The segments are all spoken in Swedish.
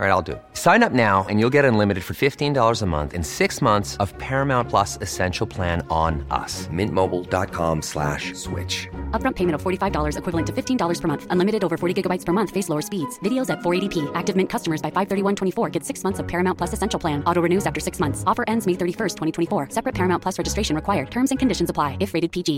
All right, I'll do it. Sign up now and you'll get unlimited for $15 a month in six months of Paramount Plus Essential Plan on us. Mintmobile.com slash switch. Upfront payment of $45 equivalent to $15 per month. Unlimited over 40 gigabytes per month. Face lower speeds. Videos at 480p. Active Mint customers by 531.24 get six months of Paramount Plus Essential Plan. Auto renews after six months. Offer ends May 31st, 2024. Separate Paramount Plus registration required. Terms and conditions apply if rated PG.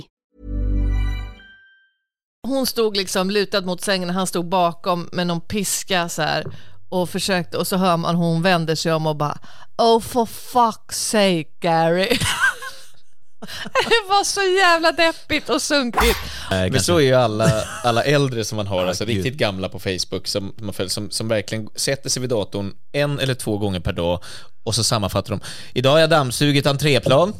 Hon stod liksom lutad mot sängen och han stod bakom med någon piska så här och försökte och så hör man hon vänder sig om och bara Oh for fuck's sake Gary. det var så jävla deppigt och sunkigt. Men så är ju alla, alla äldre som man har, alltså riktigt gamla på Facebook som, man följer, som, som verkligen sätter sig vid datorn en eller två gånger per dag och så sammanfattar de. Idag har jag dammsugit entréplan,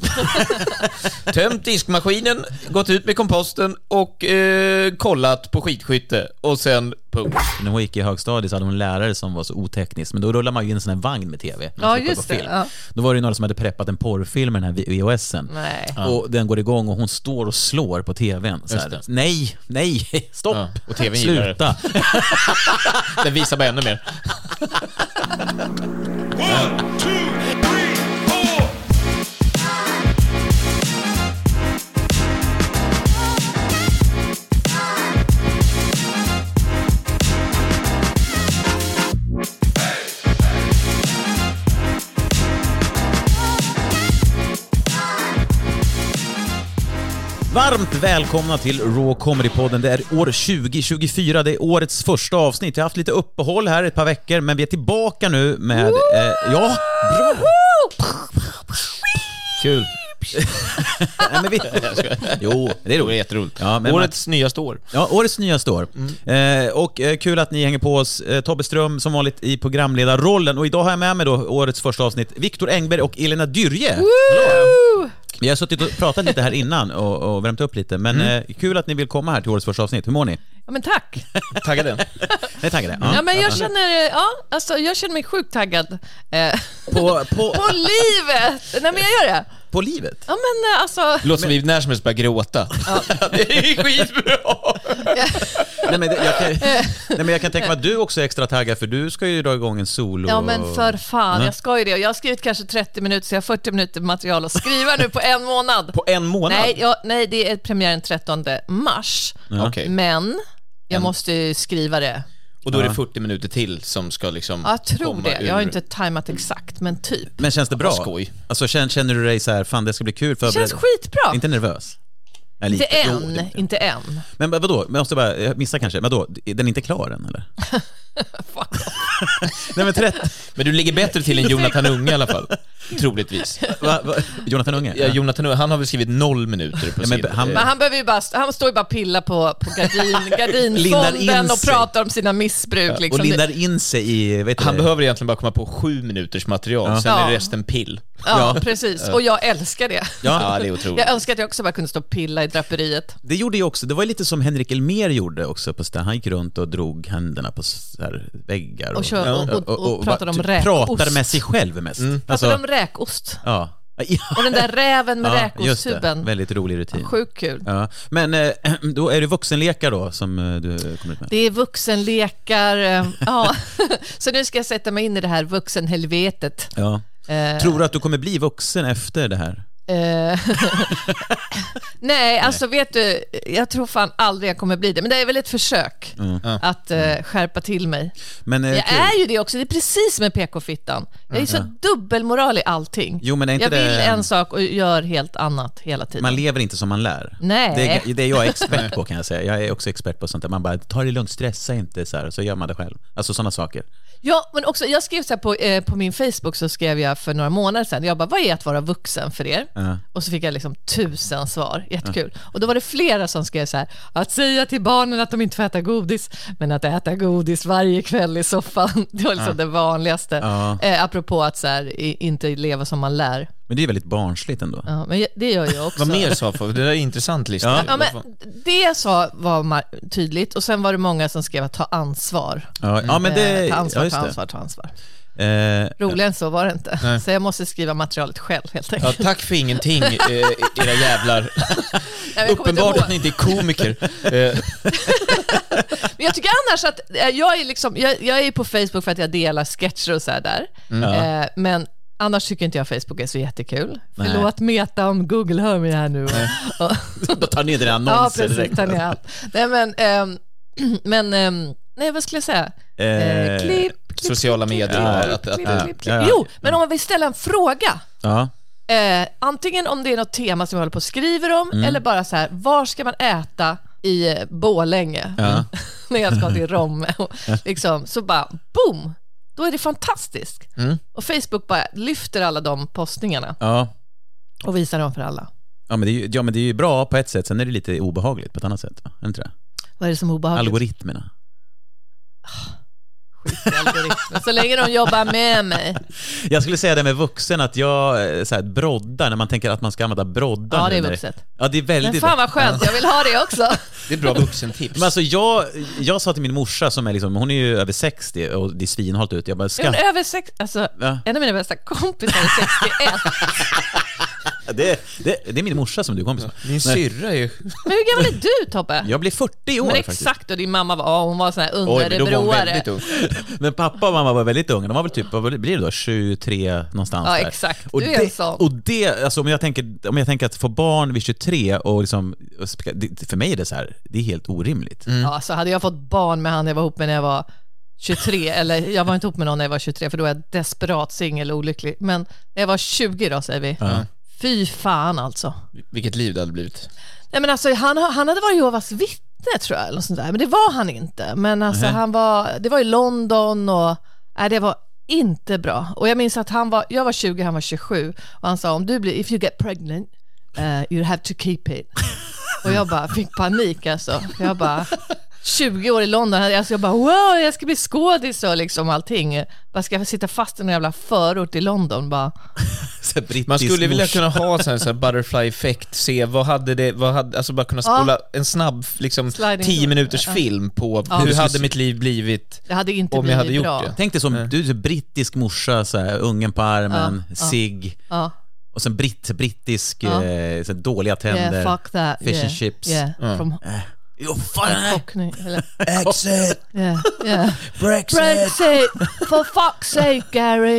tömt diskmaskinen, gått ut med komposten och eh, kollat på skidskytte och sen punkt. När hon gick i högstadiet så hade hon en lärare som var så oteknisk, men då rullade man ju in en sån här vagn med TV. när man Ja, skulle kolla just på det, film. ja. Då var det ju några som hade preppat en porrfilm med den här VHSen. Nej. Och den går igång och hon står och slår på TVn. Så här. Just Nej, nej, stopp! Ja, och TVn gillar det. Sluta! Den visar bara ännu mer. One, two, three, four. Varmt välkomna till Raw Comedy-podden. Det är år 2024, det är årets första avsnitt. Jag har haft lite uppehåll här ett par veckor, men vi är tillbaka nu med... Eh, ja, bra! Kul. Nej, men vi, jo, Det är jätteroligt. Ja, men Årets Mm. nyaste år. Ja, årets nyaste år. Eh, och eh, kul att ni hänger på oss. Eh, Tobbe Ström som vanligt i programledarrollen. Och idag har jag med mig då årets första avsnitt, Viktor Engberg och Elena Dyrje. Woo! Vi har suttit och pratat lite här innan och, och värmt upp lite, men eh, kul att ni vill komma här till årets första avsnitt. Hur mår ni? Ja, men tack. Taggade. Ni är taggade? Ja, Ja. men jag känner, ja, alltså, jag känner mig sjukt taggad. Eh, På, på, på livet! Nej men jag gör det. på livet? Ja men eh, alltså, Låter som vi när som helst börjar gråta. det är skitbra! Nej men, det- jag kan, nej men jag kan tänka mig att du också är extra taggad för du ska ju dra igång en solo... ja men för fan, Ja. jag ska ju det. Och Jag har skrivit kanske 30 minuter, så jag har 40 minuter material att skriva nu på en månad. På en månad? Nej, jag, nej det är premiären 13 mars, Ja. Okej. men jag måste ju skriva det. Och då är det 40 minuter till som ska liksom Ja, jag tror komma det. ur- Jag har inte tajmat exakt, men typ. Men känns det bra? Vad skoj. Alltså känner, känner du dig så här, fan det ska bli kul Det förberedd? känns skitbra. Inte nervös? Ja, Inte lite. Jo, än, det- inte än. Men vadå, jag måste bara, jag missar kanske, vadå, den är inte klar än eller? Nej men 30, Men du ligger bättre till än Jonathan Unge i alla fall. Troligtvis. va, va, Jonathan Unge? Ja, Jonathan Unge, han har väl skrivit noll minuter på Ja, men sin... han- eh, Men han, behöver ju bara, han står ju bara och pillar på, på gardin, gardinfonden in och sig. pratar om sina missbruk. Liksom. och lindar in sig i, vet du han det? behöver egentligen bara komma på sju minuters material, sen är Ja. resten pill. ja, precis. Och jag älskar det. Ja, det är otroligt. Jag önskar att jag också bara kunde stå och pilla i draperiet. Det gjorde ju också, det var ju lite som Henrik Elmer gjorde också på stan. han gick runt och drog händerna på så här väggar Och kör- och- och- och pratade om typ räkost. Pratade med sig själv mest. Alltså, Alltså, de räkost. ja. Och den där räven med ja, just det. räkosttuben. Väldigt rolig rutin. Sjukt kul. Ja. Men eh, då är det vuxenlekar då som eh, du kommer ut med? Det är vuxenlekar. eh, Ja. Så nu ska jag sätta mig in i det här vuxenhelvetet. Ja. Eh, Tror du att du kommer bli vuxen efter det här? Eh, Nej, alltså vet du, jag tror fan aldrig jag kommer bli det. Men det är väl ett försök Mm. att eh, skärpa till mig. Men, eh, Jag kul. Mm. är ju det också, det är precis med PK-fittan. Jag är så dubbelmoral i allting. Jo, men är inte jag vill det- en sak och gör helt annat hela tiden. Man lever inte som man lär. Nej. Det är, det är jag expert på kan jag säga. Jag är också expert på sånt där. Man bara, ta det lugnt, stressa inte så här, så gör man det själv. Alltså sådana saker. Ja, men också, jag skrev så här på, eh, på min Facebook så skrev jag för några månader sedan, jag bara, vad är att vara vuxen för er? Ja. Och så fick jag liksom tusen svar, jättekul. Och då var det flera som skrev så här, att säga till barnen att de inte får äta godis, men att äta godis varje kväll i soffan, det var liksom det vanligaste. Ja. Eh, apropå att så här, i, inte leva som man lär. Men det är väldigt barnsligt ändå. Ja, men det gör jag också. Vad mer sa folk? Det där är en intressant lista. Ja. Ja, men det sa var mar- tydligt och sen var det många som skrev att ta ansvar. Ja, ja men det... Eh, ta ansvar, ja, just ta det. ansvar, ta ansvar. Eh, Roligare än så var det inte. Så jag måste skriva materialet själv helt Ja, enkelt. tack för ingenting, eh, era jävlar. Nej, men jag kommer inte Uppenbart ihåg. att ni inte är komiker. Eh, Men jag tycker annars att, eh, jag är, liksom, jag, jag är ju på Facebook för att jag delar sketcher och så här där. Mm. Eh, men annars tycker inte jag Facebook är så jättekul. Nej. Förlåt Meta om Google hör mig här nu. Och, Då tar ner dina ja, annonser precis, direkt. ta ner allt. Nej men, ehm, men ehm, nej vad skulle jag säga? Eh, Eh, klipp, klipp, sociala klipp, medier, klipp, att- att- eh, klipp, ja, klipp, klipp. ja, ja. Jo, men om man vill ställa en fråga. Ja. Eh, antingen om det är något tema som jag håller på och skriver om eller bara så här, var ska man äta i eh, Borlänge Ja. när jag ska till Romme? Och liksom, så bara boom, då är det fantastiskt. Och Facebook bara lyfter alla de postningarna Ja. och visar dem för alla. Ja men, det är ju, ja men det är ju bra på ett sätt, sen är det lite obehagligt på ett annat sätt. va? Är det inte det? Vad är det som är obehagligt? Algoritmerna. Skit i algoritmen. Så länge de jobbar med mig. Jag skulle säga det med vuxen, att jag eh, så här, broddar, när man tänker att man ska använda broddar. Ja, det är nu när- vuxet. Ja, det är Men väldigt... fan vad skönt, jag vill ha det också. det är bra vuxentips. Men alltså jag, jag sa till min morsa som är liksom, hon är ju över 60 och det är svinhalt ut. Jag bara, Är hon skatt... över sex, alltså, Ja. en av mina bästa kompisar är 61. Det, det, det är min morsa som du är kompis med. Min syrra är ju... Men hur gammal är du Tobbe? Jag blir 40 i år Men faktiskt. exakt, och din mamma var, ja, hon var sån här Oj, men då var hon underbroare. väldigt ung. Men pappa och mamma var väldigt unga, de var väl typ, vad blir det då, 23 någonstans Ja, där. exakt. Och Du är en det, sån. och det, alltså om jag tänker, om jag tänker att få barn vid 23 och liksom, och sp- det, för mig är det så här, det är helt orimligt. Mm. Ja, så hade jag fått barn med han jag var ihop med när jag var 23, eller jag var inte ihop med någon när jag var 23, för då var jag desperat singel och olycklig. Men när jag var 20 då, säger vi. Fy fan alltså. Vilket liv det hade blivit. Nej, men alltså han, han hade varit Jehovas vittne tror jag, eller något sånt där. men det var han inte. Men alltså, han var, det var i London och nej, det var inte bra. Och jag minns att han var, jag var 20, han var 27 och han sa om du blir, if you get pregnant, eh, you have to keep it. Och jag bara fick panik alltså. Jag bara, 20 år i London, alltså jag bara wow, jag ska bli skådis och liksom allting. Bara ska jag sitta fast i någon jävla förort i London bara. Så här brittisk Man skulle vilja morsa. kunna ha sån här, så här butterfly effekt, se vad hade det, vad hade, alltså bara kunna spola en snabb, liksom Sliding 10 minuters door. film på hur Hur hade skulle- mitt liv blivit Det hade inte om jag blivit hade gjort bra. det. Tänk dig som, du är så brittisk morsa, så här, ungen på armen, Ja, ja. cigg, Ja. och sen britt, brittisk, Ja. eh, så här, dåliga tänder. Yeah, fuck that. Fish and yeah. chips. Yeah. From Jo, fan! Cockney. Eller, Exit! yeah, yeah. Brexit! Brexit! For fuck's sake, Gary.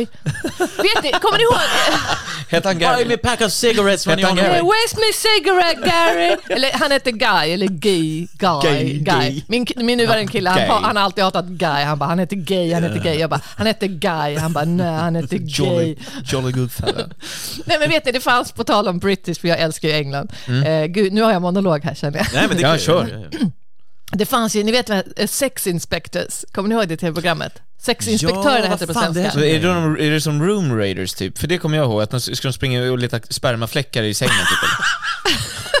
Vet ni, kommer ni ihåg? Hette han Buy me Gary? a pack of cigarettes when Hette you're han on the Gary? way. Where's my cigarette, Gary? Eller han heter Guy, eller Guy. Guy. Guy, Guy. Guy. Min, min nuvarande kille, han, Gay. har- han har alltid hatat Guy. Han bara, han heter Gay, han heter Gay. Jag bara, han heter Guy. Han bara, nej, han heter Gay. Jolly, jolly good fella. Nej men vet ni, det fanns, på tal om British, för jag älskar ju England. Eh, gud, nu har jag monolog här känner jag. Mm. Nej men det Ja, kan kör. Det fanns ju, ni vet vad, eh, Sex Inspectors, kommer ni ihåg det tv-programmet? Sexinspektörerna Ja, hette det på fan, det svenska. heter- Så är, det de, är det som room raiders typ? För det kommer jag ihåg, att de skulle springa och leta spermafläckar i sängen typ.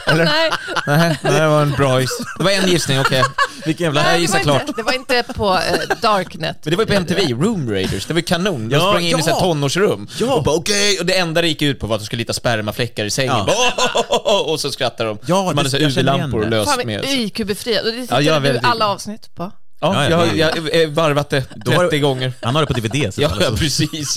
Nej, Nej, nej, det var en bra gis. Det var en gissning, okej. Vilken jävla... Nej, jag det var, gissar klart. inte, det var inte på eh, Darknet. Men det var ju på MTV, Room Raiders, det var ju kanon. De Ja, sprang in ja. i såhär tonårsrum Ja. och bara okej, och det enda det gick ut på var att de skulle hitta spermafläckar i sängen. Ja. Bara, "Oh, oh, oh, oh", och så skrattar de. Ja, de det- hade jag såhär känner igen UV-lampor det. löst Fan med. vad IQ-befriad. Och det Ja, jag är tittade du väldigt- alla avsnitt på. Ja, Ja, ja, jag, jag, jag varvat det 30 var- gånger. Han har det på DVD. Så Ja, alltså. ja, precis.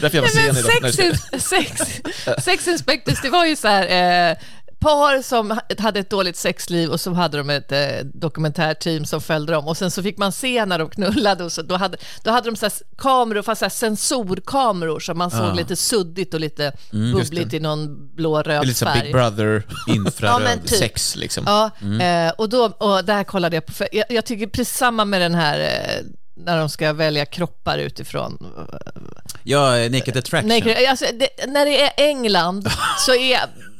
Därför jag var sen Nej, men idag. sex, Nej, in, sex, sex Inspectors, det var ju så här... Eh, par som ha- hade ett dåligt sexliv och så hade de ett eh, dokumentärteam som följde dem och sen så fick man se när de knullade och så, då, hade, då hade de så här s- kameror, fast så här sensorkameror som man Ah. såg lite suddigt och lite bubbligt i någon Mm, det är blå-röd Lite såhär Big färg. Brother, Ja, men infraröd typ. sex liksom. Ja, eh, och, då, och det här kollade jag på. För jag, jag tycker precis samma med den här eh, när de ska välja kroppar utifrån. Ja, eh, Naked Attraction. Nej, alltså, det, när det är England så är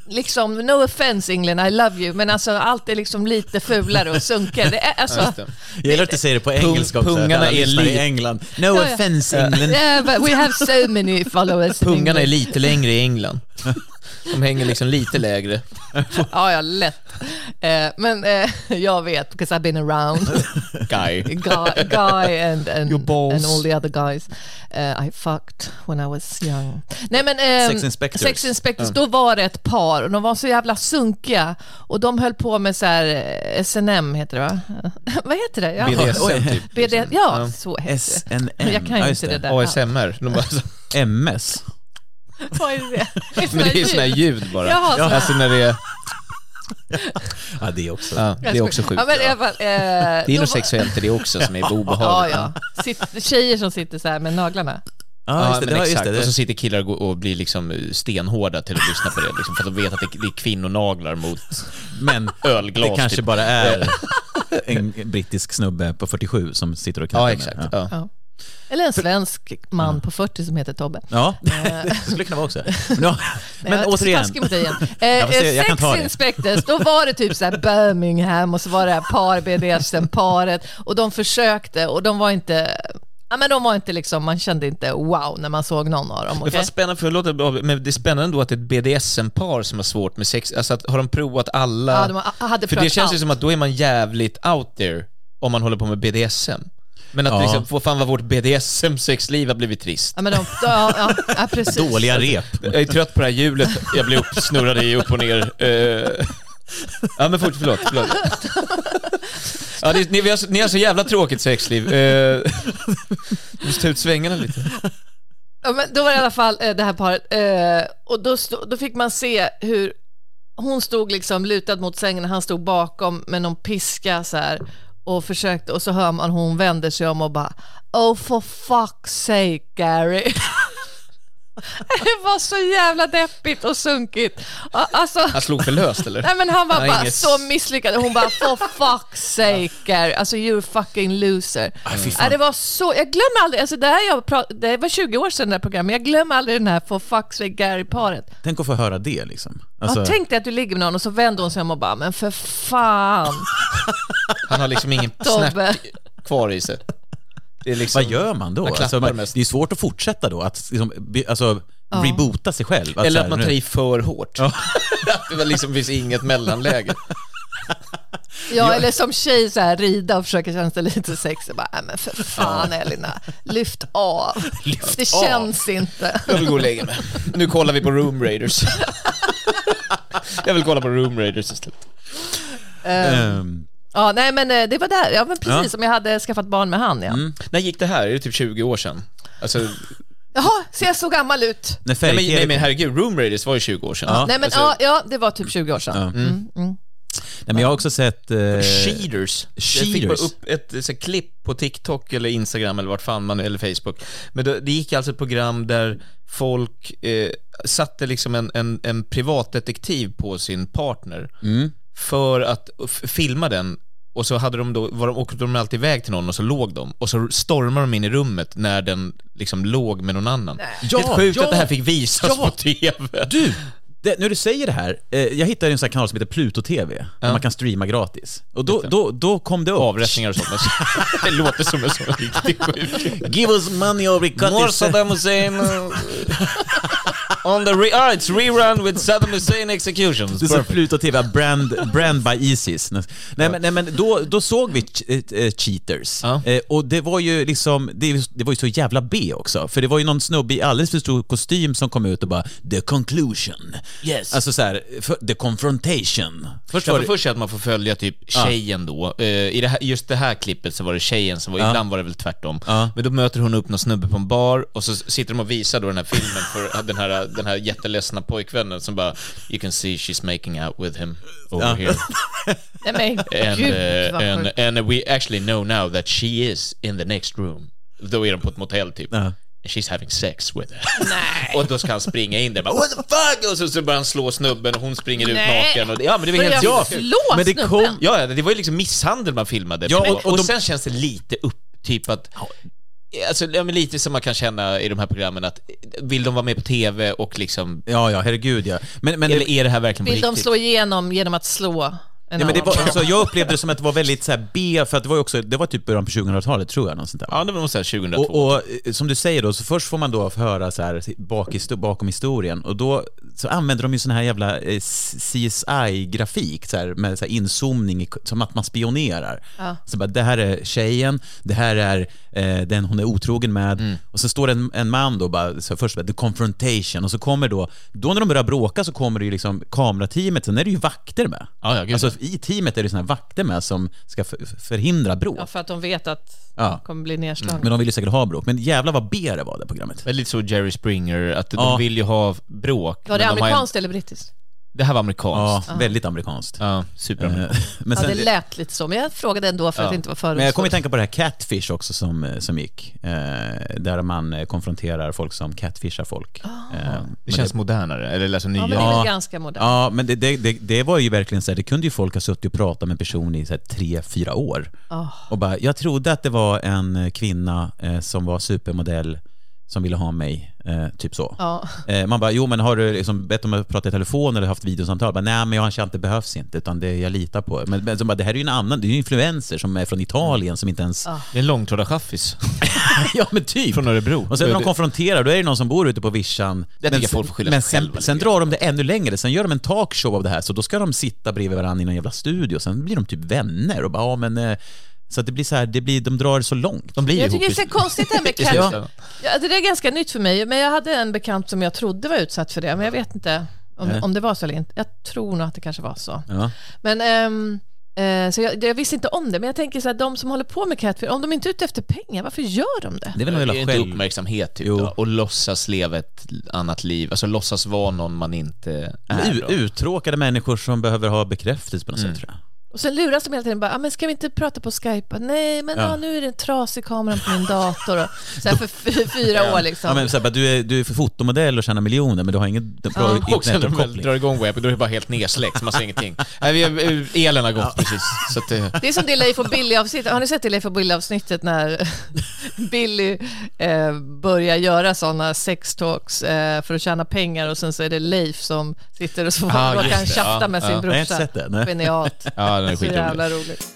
liksom, no offense England, I love you, men alltså allt är liksom lite fulare och sunkigare. Det är, alltså, Jag gillar att du säger det på engelska också. pungarna att alla är lyssnar i lit. England. No ja. offense England. yeah, but we have so many followers. in typ. Pungarna är England. lite längre i England. De hänger liksom lite lägre. Ja, ja, lätt. Eh, men eh, jag vet, because I've been around Guy. guy, guy and, and, Your balls. and all the other guys eh, I fucked when I was young. Nej, men, ehm, Sex Inspectors. Sex Inspectors, då var det ett par och de var så jävla sunkiga och de höll på med så här eh, SNM heter det va? Vad heter det? Jag- BDSM typ. BD, ja, så heter det. SNM. Men jag kan Ja, ju just inte det det. där. ASMR. De bara, MS. Vad är det? men det är ju såna här ljud bara. Jaha, såna här. alltså när det är... Ja, det också. Ja, det är också sjukt. Ja, men i ja. alla fall, eh, det Det är något sexuellt i det också som är Ja, obehagligt. ja. Sitt, tjejer som sitter så här med naglarna. Ja, just det. men det, var- just exakt. det. Och så det. sitter killar och går- och blir liksom stenhårda till att lyssna på det, liksom, för att de vet att det det är kvinnonaglar mot Men ölglas. det kanske typ. bara är en brittisk snubbe på 47 som sitter och knäpper Ja, med. exakt. Ja. Eller en svensk man på 40 som heter Tobbe. Ja, det skulle kunna vara också. Men, ja. men Eh. jag är återigen, taskig mot dig igen. Jag får Eh, se, jag kan sex ta det. Inspectors, då var det typ så här Birmingham och så var det här par BDSM-paret och de försökte och de var inte, ja men de var inte liksom, man kände inte wow när man såg någon av dem. Men okej? fan spännande, förlåt, att jag avbryter, men det är spännande ändå att det är ett BDSM-par som har svårt med sex. Alltså, att, har de provat alla? Ja, de har- hade För det provat känns ju allt. som att då är man jävligt out there om man håller på med BDSM. Men att Ja. liksom, vad fan vad vårt BDSM-sexliv har blivit trist. Ja men de, ja, ja, ja precis. dåliga rep. Jag är trött på det här hjulet jag blir uppsnurrad i, upp och ner. Eh, Ja men fort, förlåt. förlåt. Ja, det, ni, vi har, så- ni har så jävla tråkigt sexliv. Eh, Du måste ta ut svängarna lite. Ja, men då var det i alla fall eh, det här paret. Eh, och då, stod, då fick man se hur hon stod liksom lutad mot sängen och han stod bakom med någon piska så här och försökte och så hör man hon vänder sig om och bara Oh for fuck's sake Gary. det var så jävla deppigt och sunkigt. Ja, Alltså, Han slog för löst eller? nej men han var Han har bara inget- så misslyckad och hon bara for fuck's sake Gary. Alltså you're a fucking loser. Ja, det var så, jag glömmer aldrig, alltså det, här jag pra, det var 20 år sedan det här programmet, jag glömmer aldrig den här For fuck's sake Gary-paret. Tänk att få höra det liksom. Ja, Alltså, tänk dig att du ligger med någon och så vänder hon sig om och bara, men för fan Han har liksom ingen snärt Tobbe. kvar i sig. Det är liksom... vad gör man då? Man klappar alltså, man, mest. det är svårt att fortsätta då, att liksom, by- alltså, reboota sig själv. Eller så här, att man nu- tar i för hårt. att det var liksom finns inget mellanläge. Ja, eller som tjej så här rida och försöka känna sig lite sexig, bara, nej men för fan Elina, lyft av. det känns inte. Jag vill gå och lägga mig. Nu kollar vi på Room Raiders. Jag vill kolla på Room Raiders istället. Ehm, Ja, nej men eh, det var där, ja Mm. men precis Ja. som jag hade skaffat barn med han ja. När gick det här? Är det typ 20 år sedan? Alltså, Jaha, ser jag så gammal ut? när nej, men, nej men färg-tv herregud, Room Raiders var ju 20 år sedan. Ja. Nej men Alltså- ja, ja, det var typ 20 år sedan. Mm, mm. Nej, men jag har också sett... Eh, Cheaters. Jag fick bara Cheaters. upp ett, så här, klipp på TikTok eller Instagram eller vart fan man eller Facebook. Men då, det gick alltså ett program där folk eh, satte liksom en, en, en privatdetektiv på sin partner Mm. för att f- filma den och så hade de då, var de, åkte de alltid iväg till någon och så låg de och så stormade de in i rummet när den liksom låg med någon annan. Ja, det är sjukt ja. att det här fick visas Ja. på TV. Du! Det, när du säger det här, eh, jag hittade en sån här kanal som heter Pluto TV, där man kan streama gratis. Och då, då, då kom det upp... Avrättningar och sånt. men Det låter som en sån riktig sjuk. Give us money or we cut More this- Saddam Hussein uh, on the re- ah, it's rerun with Saddam Hussein executions. Det är så Perfect. Pluto TV, brand, brand by Isis. Nej, men, nej, men då, då såg vi ch- eh, Cheaters. Ja. Eh, och det var ju liksom, det, är ju- det var ju så jävla B också. För det var ju någon snubbe i alldeles för stor kostym som kom ut och bara “The conclusion”. Yes. Alltså såhär, för- “The confrontation”. Först Jag var får det, först säga att man får följa typ tjejen då. Eh, I det här, just det här klippet så var det tjejen som var, ibland var det väl tvärtom. Men då möter hon upp någon snubbe på en bar och så sitter de och visar då den här filmen för den här, den här jätteledsna pojkvännen som bara You can see she's making out with him over here. Nej men And, gud eh, vad and, sjukt. and we actually know now that she is in the next room. Då är de på ett motell typ. And She's having sex with it. Och då ska han springa in där bara, What the fuck? Och så, så börjar han slå snubben och hon springer ut Nej. naken. Och det, ja men det var Börjar helt jag ja. slå Men det snubben? kom- Ja, ja, det var ju liksom misshandel man filmade. Ja, och, och- och, och de- sen känns det lite upp, typ att Alltså, ja, men lite som man kan känna i de här programmen att vill de vara med på TV och liksom, ja, ja, herregud ja. Men, men eller är det här verkligen på Vill de riktigt? slå igenom genom att slå? en Ja, men det annan var, gång. alltså, jag upplevde det som att det var väldigt så här, B, för att det var ju också, det var typ början på 2000-talet tror jag. Något sånt där. Ja, det var nog såhär 2002. Och, och eh, som du säger då, så först får man då höra så här bakhisto- bakom historien och då så använder de ju sån här jävla eh, CSI-grafik så här, med så här inzoomning, i- som att man spionerar. Så bara, det här är tjejen, det här är eh, den hon är otrogen med Mm. och så står det en, en man då bara, så här, först bara, the confrontation och så kommer då, då när de börjar bråka så kommer det ju liksom kamerateamet, sen är det ju vakter med. Ja, ja, gud. alltså i teamet är det såna här vakter med som ska för- förhindra bråk. Ja, för att de vet att Ja. de kommer bli nedslagna. Men de vill ju säkert ha bråk, men jävlar vad B det var det programmet. Men lite så Jerry Springer, att Ja. de vill ju ha bråk. Var det men de har ju- amerikanskt eller brittiskt? Det här var Ja, amerikanskt. väldigt amerikanskt. Eh, Ja, Eh, superamerikanskt. Men, Ja, sen, det lät lite så, men jag frågade ändå för att inte vara men jag kommer fördomsfull. att tänka på det här Catfish också som, eh, som gick. Eh, där man eh, konfronterar folk som catfishar Ah. folk. Eh, men Det känns modernare, eller alltså Ja, nya. men det är väl ganska modernt. Ja, men det, det, det, det var ju verkligen så här, det kunde ju folk ha suttit och pratat med en person i så här, tre, fyra år. Ah. Och bara, jag trodde att det var en eh, kvinna eh, som var supermodell som ville ha mig, eh, typ så. Ja. Eh, man bara, jo men har du liksom bett om att prata i telefon eller haft videosamtal? Bara, Nej men jag har känt det behövs inte, utan det jag litar på. Men, men så bara, det här är ju en annan, det är ju influencer som är från Italien som inte ens... Det är en långtradarchaffis ja men typ! från Örebro. Och sen när de Det- konfronterar, då är det någon som bor ute på vischan. tycker jag folk får skylla sig men sen, själva lite sen grann. drar de det ännu längre, sen gör de en talkshow av det här, så då ska de sitta bredvid varandra i någon jävla studio, sen blir de typ vänner och bara, ja men... eh, Så att det blir så här, det blir, de drar det så långt. De blir Jag ihop tycker det är i- så konstigt det här med Ja. cat... Ja, alltså, det där är ganska nytt för mig, men jag hade en bekant som jag trodde var utsatt för det, men jag vet inte om, om det var så eller inte. Jag tror nog att det kanske var så. Ja. Men, ehm, eh, så jag, jag visste inte om det, men jag tänker så här, de som håller på med catfish, om de inte är ute efter pengar, varför gör de det? Det är väl Eh, Det någon är jävla inte själv... uppmärksamhet typ Jo. då, och låtsas leva ett annat liv, alltså låtsas vara någon man inte är. U- då. uttråkade människor som behöver ha bekräftelse på något Mm. sätt tror jag. Och sen luras de hela tiden bara, ah, men ska vi inte prata på Skype? Nej, men ah, nu är det en trasig kameran på min dator. Och, så här för fy- fyra år liksom. Ja, men, så här, bara, du, är, du är för fotomodell och tjänar miljoner men du har ingen bra Och sen när de väl internetuppkoppling. drar igång webben, då är det bara helt nedsläckt, man ser ingenting. Nej, vi har, elen har gått precis. Så att, eh, Det är som det Leif och Billy-avsnittet. Har ni sett det Leif och Billy-avsnittet när Billy eh, börjar göra sådana sextalks eh, för att tjäna pengar och sen så är det Leif som sitter och så Ah, råkar just han det. tjafta Ja, med ja. sin Jag har brorsa. inte sett det, nej. Genialt. ja, den är Så skitrolig. jävla roligt.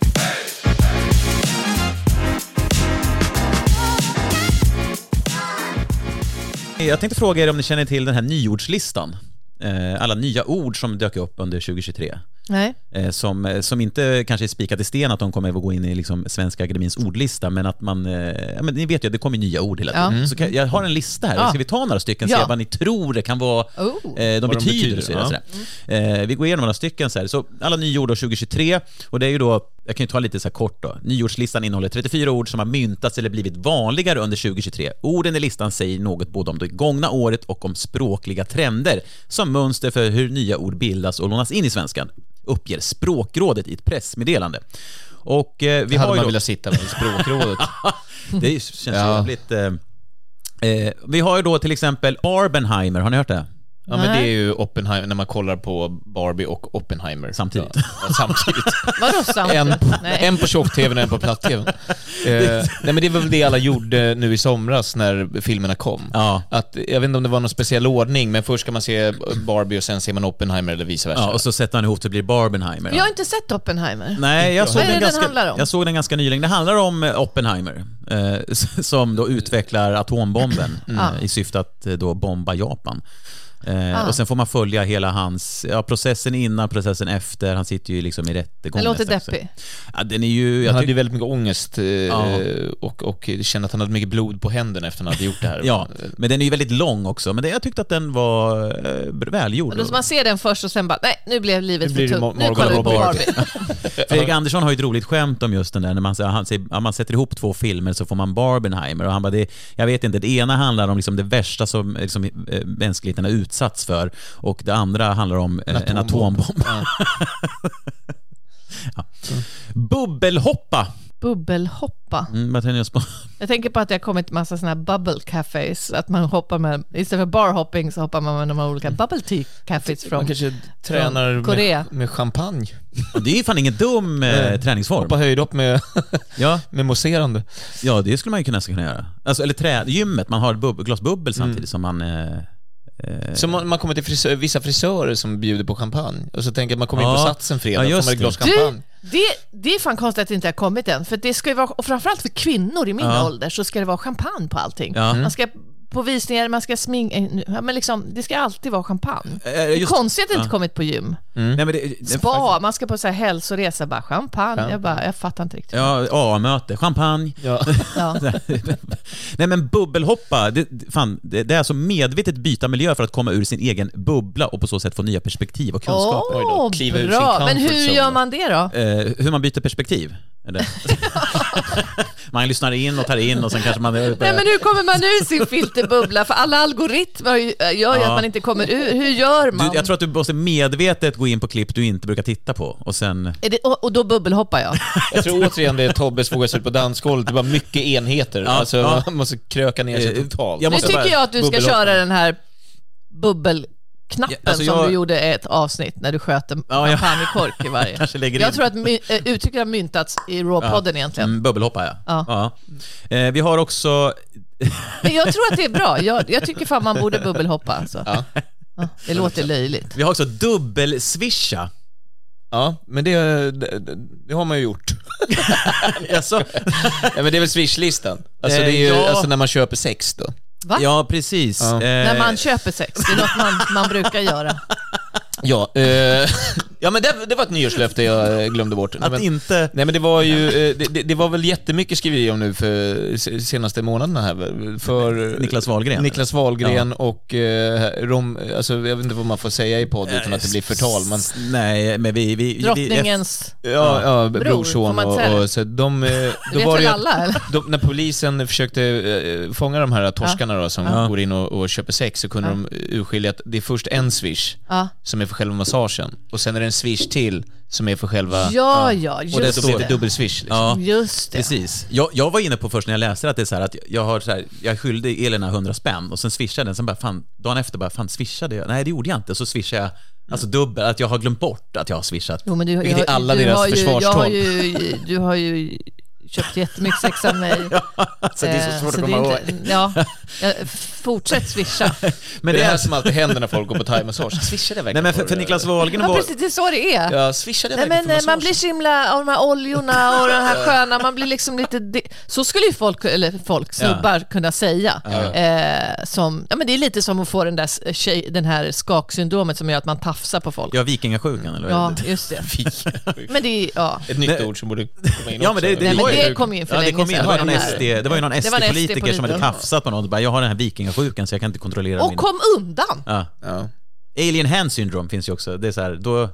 Jag tänkte fråga er om ni känner till den här nyordslistan. Eh, Alla nya ord som dök upp under 2023. Nej. eh, Som, eh, som inte kanske är spikat i sten att de kommer att gå in i liksom Svenska Akademins ordlista, men att man... eh, Ja, men ni vet ju, det kommer nya ord hela tiden. Så kan, jag har en lista här, Ja. ska vi ta några stycken och Ja. se vad ni tror det kan vara, Oh. eh, de Vad de betyder betyder, och så ja. vidare. Eh, vi går igenom några stycken så här. Så alla nyord år 2023, och det är ju då, jag kan ju ta lite så här kort då. Nyordslistan innehåller 34 ord som har myntats eller blivit vanligare under 2023. Orden i listan säger något både om det gångna året och om språkliga trender som mönster för hur nya ord bildas och lånas in i svenskan, uppger Språkrådet i ett pressmeddelande. Och eh, vi Vi hade har ju man då... velat sitta med i språkrådet. Det är ju- känns ju Ja. jävligt... Eh, eh, vi har ju då till exempel Barbenheimer, har ni hört det? Ja, men det är ju Oppenheimer, när man kollar på Barbie och Oppenheimer. Samtidigt. Ja, ja, samtidigt. Vadå sant? En, Nej. en på tjock-tvn och en på platt-tvn. Eh, nej men det var väl det alla gjorde nu i somras när filmerna kom. Ja. Att, jag vet inte om det var någon speciell ordning, men först ska man se Barbie och sen ser man Oppenheimer eller vice versa. Ja, och så sätter han ihop det och blir Barbenheimer. Jag har inte sett Oppenheimer. Nej, jag såg, Vad är den det den ganska, handlar om? jag såg den ganska nyligen. Det handlar om eh, Oppenheimer, eh, s- som då utvecklar atombomben eh, i syfte att eh, då bomba Japan. Eh, Ah. Och sen får man följa hela hans, ja, processen innan, processen efter. Han sitter ju liksom i rättegång. Den låter nästan också. deppig. Ja, den är ju... Han Jag hade ju tyck- väldigt mycket ångest eh, och, och kände att han hade mycket blod på händerna efter han hade gjort det här. ja, men den är ju väldigt lång också. Men det, jag tyckte att den var eh, välgjord. Då ska man se den först och sen bara, nej nu blev livet Nu blir för det tungt. Mo- Nu Morgan kollar vi på Roberts. Barbie. Fredrik Andersson har ju ett roligt skämt om just den där när man, säger- han säger, ja, man sätter ihop två filmer så får man Barbenheimer och han bara, det, jag vet inte, det ena handlar om liksom det värsta som liksom, eh, mänskligheten har utsatts för och det andra handlar om eh, en atombomb. atombomb. Bubbelhoppa! Bubbelhoppa. Mm, vad tänker jag på? Jag tänker på att det har kommit massa såna här bubble cafes, att man hoppar med, istället för bar hopping så hoppar man med de här olika bubble tea cafes Mm. Man från kanske tränar Korea. med, med champagne. Och det är ju fan ingen dum eh, Nej. träningsform. Hoppa höjdhopp med, Ja, med mousserande. Mm. ja, det skulle man ju kunna, nästan kunna göra. Alltså, eller trä, gymmet, man har ett bub- glas bubbel samtidigt som man eh, eh, Som man, man kommer till frisör, vissa frisörer som bjuder på champagne och så tänker jag, man kommer in på Ja. satsen fredag, Ja, ja, just får man ett glas det. champagne. det, det är fan konstigt att det inte har kommit än, för det ska ju vara, och framförallt för kvinnor i min ålder så ska det vara champagne på allting. Ja. Mm. Man ska på visningar, man ska sminka, ja, men liksom, det ska alltid vara champagne. det Eh, är just- konstigt att det inte kommit på gym. Nej, men det, Spa, man ska på så här hälsoresa, bara champagne. Jag, bara, jag fattar inte riktigt. Ja, AA-möte, champagne. Ja. Ja. Nej men bubbelhoppa, det, det- fan, det, det är alltså medvetet byta miljö för att komma ur sin egen bubbla och på så sätt få nya perspektiv och kunskap. Oj då, Åh, kliva ur bra! sin Men comfort hur zone. gör man det då? Eh, hur man byter perspektiv. Eller? man lyssnar in och tar in och sen kanske man... Nej, men hur kommer man ur sin filterbubbla? För alla algoritmer har ju- äh, gör ju att man inte kommer ur. Hur gör man? du, jag tror att du måste medvetet gå in på klipp du inte brukar titta på och sen... Är det, och, och då bubbelhoppar jag. Jag tror återigen det är Tobbes vågar sig ut på dansgolvet, det var mycket enheter. alltså, ja. man måste kröka ner sig Eh, totalt. jag Nu måste tycker bara- jag att du ska bubbelhoppar. köra den här bubbelknappen Ja, alltså som jag- du gjorde i ett avsnitt när du sköt en Ja, jag- champagnekork i varje. Kanske lägger jag in. tror att my, eh, uttrycket har myntats i Raw-podden egentligen. Mm, bubbelhoppa ja. Ja. Ja. Eh, vi har också... Men jag tror att det är bra. Jag, jag tycker fan man borde bubbelhoppa. Alltså. Ja, det låter löjligt. Vi har också dubbelswisha. Ja, men det, det, det har man ju gjort. Alltså, ja, men det är väl swishlistan? Alltså, Eh, det är ju, ja. alltså när man köper sex då. Va? ja, precis. Ja. Eh, När man köper sex, det är något man, man brukar göra. Ja, eh, ja men det, det var ett nyårslöfte jag eh, glömde bort. Nej, att men, inte... Nej men det var ju, eh, det, det, det var väl jättemycket skriveri om nu för se- senaste månaderna här. För eh, Niklas Wahlgren. Niklas Wahlgren och eh, Rom, alltså jag vet inte vad man får säga i podd utan att det blir förtal men S- Nej, men vi... vi, vi Drottningens... Ja, ja brorson får man inte säga och, det? och så de... eh, Då vet var väl det ju att- alla, eller? de, när polisen försökte eh, fånga de här torskarna då, som går in och, och köper sex så kunde de urskilja att det är först en swish Ja. som är för själva massagen och sen är det en swish till som är för själva... Ja, ja, och det, just då blir det det. dubbel swish. Liksom. Ja, Just det. precis. Jag, jag var inne på först när jag läste att det är så här att jag- jag har så här, jag skyllde Elena 100 spänn och sen swishade den, sen bara fan, dagen efter bara fan swishade jag? Nej det gjorde jag inte, så swishade jag, alltså dubbel, att jag har glömt bort att jag har swishat. Jo, men du, Vilket är jag- alla du deras har ju, jag försvarstal. har ju, Du har ju köpt jättemycket sex av mig. Så det är så Eh, svårt att det är komma ihåg. inte- Ja, eh, fortsätt swisha. Men Det är det det här är, som alltid händer när folk går på thai-massage. Swishade jag verkligen nej men för, på för det? Niklas Wahlgren Ja, var, precis, det är så det är. Ja, swishade jag Nej, verkligen men eh, för man blir massagen? så himla av de här oljorna och de här sköna, man blir liksom lite... di- Så skulle ju folk, eller folk, snubbar kunna säga. Eh, som, ja, men det är lite som att få den där, s- tjej, den här skaksyndromet som gör att man tafsar på folk. ja vikingasjukan eller vad Ja, är det? just det. Men det är, ja. Ett nytt Nej. ord som borde komma in Ja men det, det, också. Nej, men var ju- det kom in för ja, det länge kom in. sedan. Det var ju någon Den här- SD, det var ju någon Det var en SD-politiker som hade SD-politiker. tafsat på någon och bara jag har den här vikingasjukan så jag kan inte kontrollera Och min... kom undan! Ja. Ja. Alien hand syndrome finns ju också. Det är så här, då,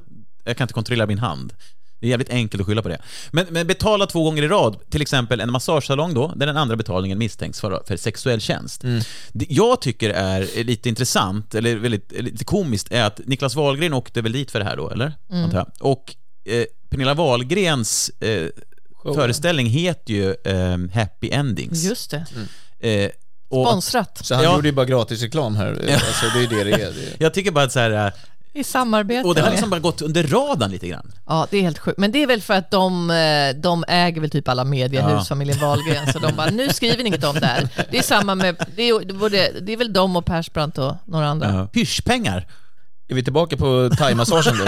jag kan inte kontrollera min hand. Det är jävligt enkelt att skylla på det. Men, men betala två gånger i rad, till exempel en massagesalong då, där den andra betalningen misstänks för, för sexuell tjänst. Det jag tycker är lite intressant, eller väldigt, lite komiskt, är att Niklas Wahlgren åkte väl dit för det här då, eller? Antar jag. Och eh, Pernilla Wahlgrens eh, föreställning heter ju eh, Happy Endings. Just det. Eh, och Sponsrat. Så han Ja. gjorde ju bara gratisreklam här. Alltså, det är ju det det är. Det- jag tycker bara att så här, eh, I samarbete. och det har med- liksom bara gått under radarn lite grann. Ja, det är helt sjukt. Men det är väl för att de, eh, de äger väl typ alla mediehus, Ja. familjen Wahlgren, så de bara, nu skriver ni inget om det här. Det är samma med, det är, både, det är väl de och Persbrandt och några andra. Ja. Hyschpengar. Är vi tillbaka på thai-massagen då?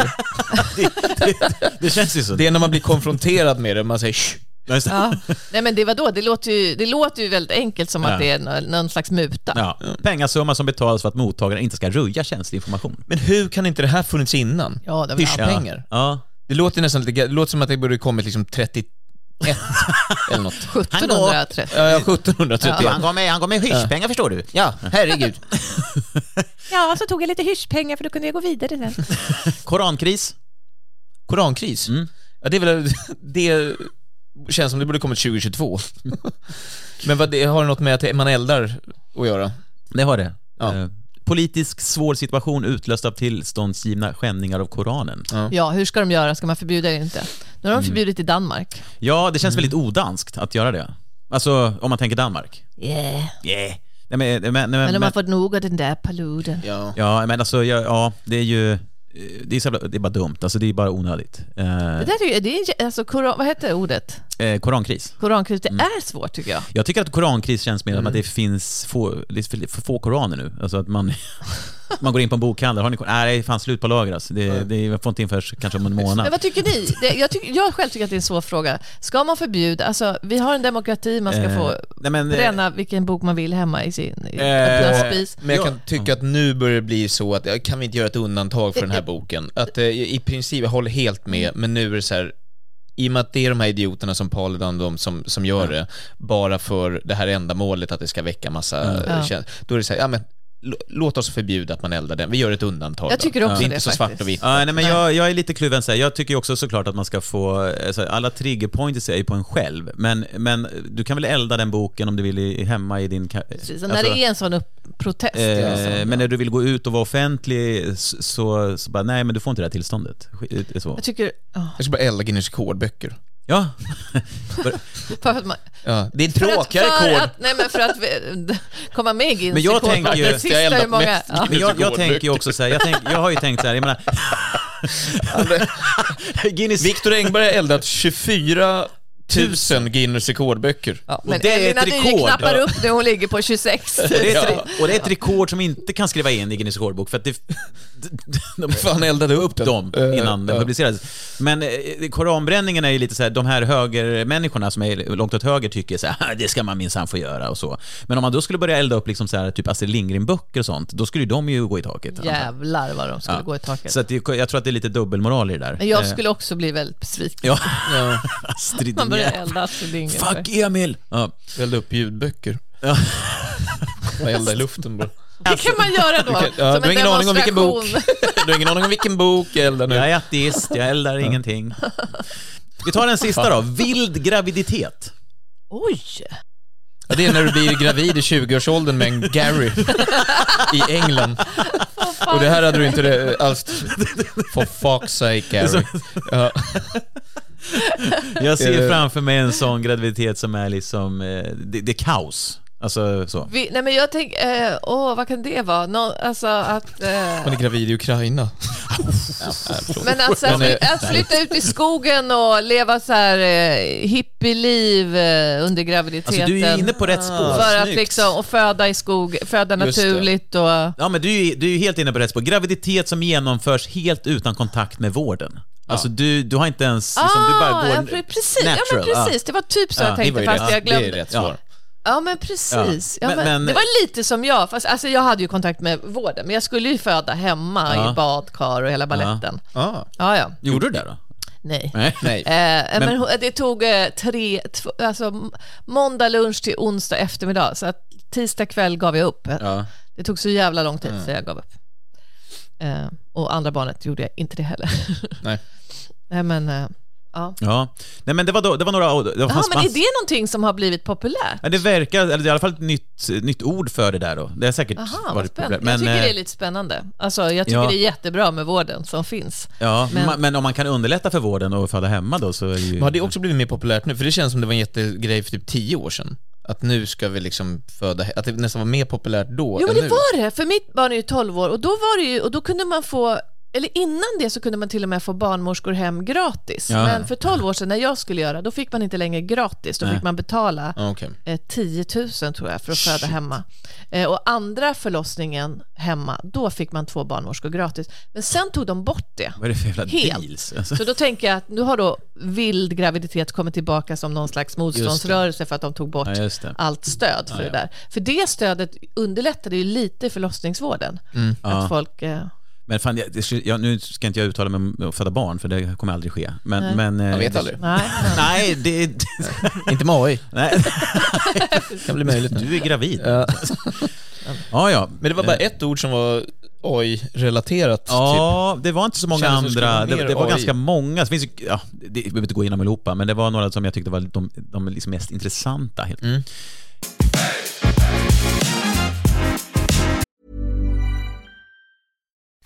Det känns ju så. Det är när man blir konfronterad med det, man säger Shh. Ja, just det. Ja. Nej men det var då, det låter ju, det låter ju väldigt enkelt som Ja. att det är nå- någon slags muta. Ja. Pengasumma som betalas för att mottagaren inte ska röja känslig information. Men hur kan inte det här funnits innan? Ja, det har vi Hyschpengar. Ja. Det låter nästan lite, det låter som att det borde kommit liksom 31 eller något. 1730. Ja, ja, 1731. Han gav mig, han gav mig hyschpengar förstår du. Ja, herregud. Ja, så tog jag lite hyschpengar för då kunde jag gå vidare sen. Korankris. Korankris. Ja, det är väl, det känns som det borde kommit 2022. Men vad, det, har det något med att man eldar att göra? Det har det. Ja. Eh, Politisk svår situation utlöst av tillståndsgivna skändningar av Koranen. Ja, Ja, hur ska de göra? Ska man förbjuda det eller inte? Nu Mm. har de förbjudit i Danmark. det känns väldigt odanskt att göra det. Alltså, om man tänker Danmark. Yeah. Yeah. Nej, men, nej, men, nej, Men men, de har fått nog av den där paluden. Ja. Ja, men alltså, ja, ja, det är ju... eh, Det är, så jävla, det är bara dumt, alltså det är bara onödigt. Eh, Det där är ju, det är, en- alltså, koran, vad heter ordet? eh, korankris. Korankris, det Mm. är svårt tycker jag. Mm. Jag tycker att korankris känns mer som att det finns få, det är för få koraner nu. Alltså att man... Man går in på en bokhandel, har ni korn? Nej, det är fan slut på lager alltså. det, det, Jag får inte in förrän kanske om en Men månad. vad tycker ni? Det, jag, tycker, jag själv tycker att det är en svår fråga. Ska man förbjuda, alltså vi har en demokrati, man ska Eh, få nej, men, eh, bränna vilken bok man vill hemma i sin i Eh, öppna spis. Men jag kan tycka att nu börjar det bli så att, ja, kan vi inte göra ett undantag för den här boken? Att eh, i princip, jag håller helt med, Mm. men nu är det så här, i och med att det är de här idioterna som Paludan, de som, som gör det, bara för det här ändamålet att det ska väcka massa Ja. mm. känslor, då är det så här, ja men lå- Låt oss förbjuda att man eldar den. Vi gör ett undantag. Jag då. tycker också det är det inte så svart faktiskt. och vitt. Ja, nej, men jag, jag är lite kluven. Så här. Jag tycker ju också såklart att man ska få, alltså, alla trigger pointers är ju på en själv, men, men du kan väl elda den boken om du vill i, hemma i din... ka- Precis. Och när alltså- det är en sån upp, protest. ja, så- Eh, men när du vill gå ut och vara offentlig s- så, så bara, nej men du får inte det här tillståndet. Sk- eh, Så. Jag tycker, ja, Jag ska bara elda Guinness rekordböcker. Ja, för att man, Ja. Det är för att, tråkiga för rekord. att, nej men för att vi, komma med i Guinness Men jag tänker ju- det sista Jag eldar är många, mest. ja. men jag, jag Guinness tänker ju också så här, jag, tänk, jag har ju tänkt så här, jag menar, Guinness, Viktor Engberg har eldat 24 000 Guinness rekordböcker. Ja, och men det är ett Elina Dyre rekord. knappar upp nu, hon ligger på 26. och det, är ett, Ja. re- och det är ett rekord som inte kan skriva in i Guinness rekordbok för att det, de, Fan eldade upp den. dem Eh, innan den ja. publicerades. Men eh, koranbränningen är ju lite så här, de här högermänniskorna som är långt åt höger tycker så här, det ska man minsann få göra och så. Men om man då skulle börja elda upp liksom så här, typ Astrid Lindgren-böcker och sånt, då skulle ju de ju gå i taket. typ. Jävlar vad de skulle Ja. gå i taket. Så att det, jag tror att det är lite dubbelmoral i det där. men jag Eh, skulle också bli väldigt besviken. Ja. Astrid Man börjar Lindgren. elda så det är inget. Fuck Emil! Ja. Välde upp ljudböcker. Ja. Man eldar i luften bara. Det kan man göra då, Okej, ja, som du en har ingen aning om vilken demonstration. bok. Du har ingen aning om vilken bok jag eldar nu. Jag är ateist, jag eldar ingenting. Vi tar den sista då. Vild graviditet. Oj! Ja, det är när du blir gravid i 20-årsåldern med en Gary i England. Och det här hade du inte det- alls... For fuck's sake, Gary. Ja. Jag Är det- ser framför mig en sån graviditet som är liksom, eh, det, det är kaos. Alltså så. Vi, nej men jag tänker, eh, åh vad kan det vara? Nå, alltså att... Eh, Man är gravid i Ukraina. men alltså, att, Men, fly, eh, att flytta ut i skogen och leva så här eh, hippieliv eh, under graviditeten. Alltså du är ju inne på rätt spår. För att Snyggt. liksom, och föda i skog, föda Just det. naturligt och... Ja men du, är ju- du är ju helt inne på rätt spår. Graviditet som genomförs helt utan kontakt med vården. Alltså du, du har inte ens, liksom, du bara går Ah, ja, pre- precis, ja, men natural. Ja. precis. Det var typ så jag det tänkte var ju fast rätt. jag Det är glömde. rätt Ja. svar. Ja men precis. Ja. Ja. men, Men- men- det var lite som jag, fast alltså, jag hade ju kontakt med vården, men jag skulle ju föda hemma Ja. i badkar och hela balletten. Ja. Ah. Ja, Gjorde du det då? Nej. Nej. Nej. Eh, men, hon- det tog eh, tre, två, alltså m- måndag lunch till onsdag eftermiddag, så att tisdag kväll gav jag upp. Ja. Det tog så jävla lång tid så jag gav upp. Eh, och andra barnet gjorde jag inte det heller. Nej. Nej men, eh, ja. Ja. Nej men det var, då, det var några... Det var Jaha, fanns men är mass- det någonting som har blivit populärt? Ja, det verkar, eller det är i alla fall ett nytt, nytt ord för det där då. Det har säkert Aha, vad varit spännande. Men, jag tycker det är eh, lite spännande. Alltså, jag tycker ja. det är jättebra med vården som finns. Ja, Men- men, ma- men om man kan underlätta för vården och föda hemma då så är det ju... Men har det också blivit mer populärt nu? För det känns som det var en jättegrej för typ 10 år sedan. Att nu ska vi liksom föda... Att det nästan var mer populärt då Jo men än det nu. var det, för mitt barn är ju 12 år och då var det ju, och då kunde man få, eller innan det så kunde man till och med få barnmorskor hem gratis. Ja. Men för 12 år sedan när jag skulle göra, då fick man inte längre gratis, då Nej. fick man betala Ah, Okej. eh, 10 000 tror jag för att föda hemma. Eh, och andra förlossningen hemma, då fick man två barnmorskor gratis. Men sen tog de bort det. Vad är det för jävla Helt. deals? Alltså. Så då tänker jag att nu har då vild graviditet kommit tillbaka som någon slags motståndsrörelse för att de tog bort Ja, just det. allt stöd för det där. För det stödet underlättade ju lite förlossningsvården. Mm. Att folk... Eh, Men fan, jag, det skulle- jag, nu ska inte jag uttala mig om att föda barn för det kommer aldrig ske. Men, men, eh, Jag vet det- aldrig. nej, Nej, det... Inte med AI. Nej, Det kan bli möjligt nu. du är gravid. Ja, ja. ja. Men det var bara ett ord som var AI-relaterat, typ. Ja, det var inte så många Kändes som det skulle andra. vara Det, mer det var AI. ganska många. Det finns, ju- ja, det, vi behöver inte gå igenom allihopa, men det var några som jag tyckte var de, de liksom mest intressanta. Helt.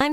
I'm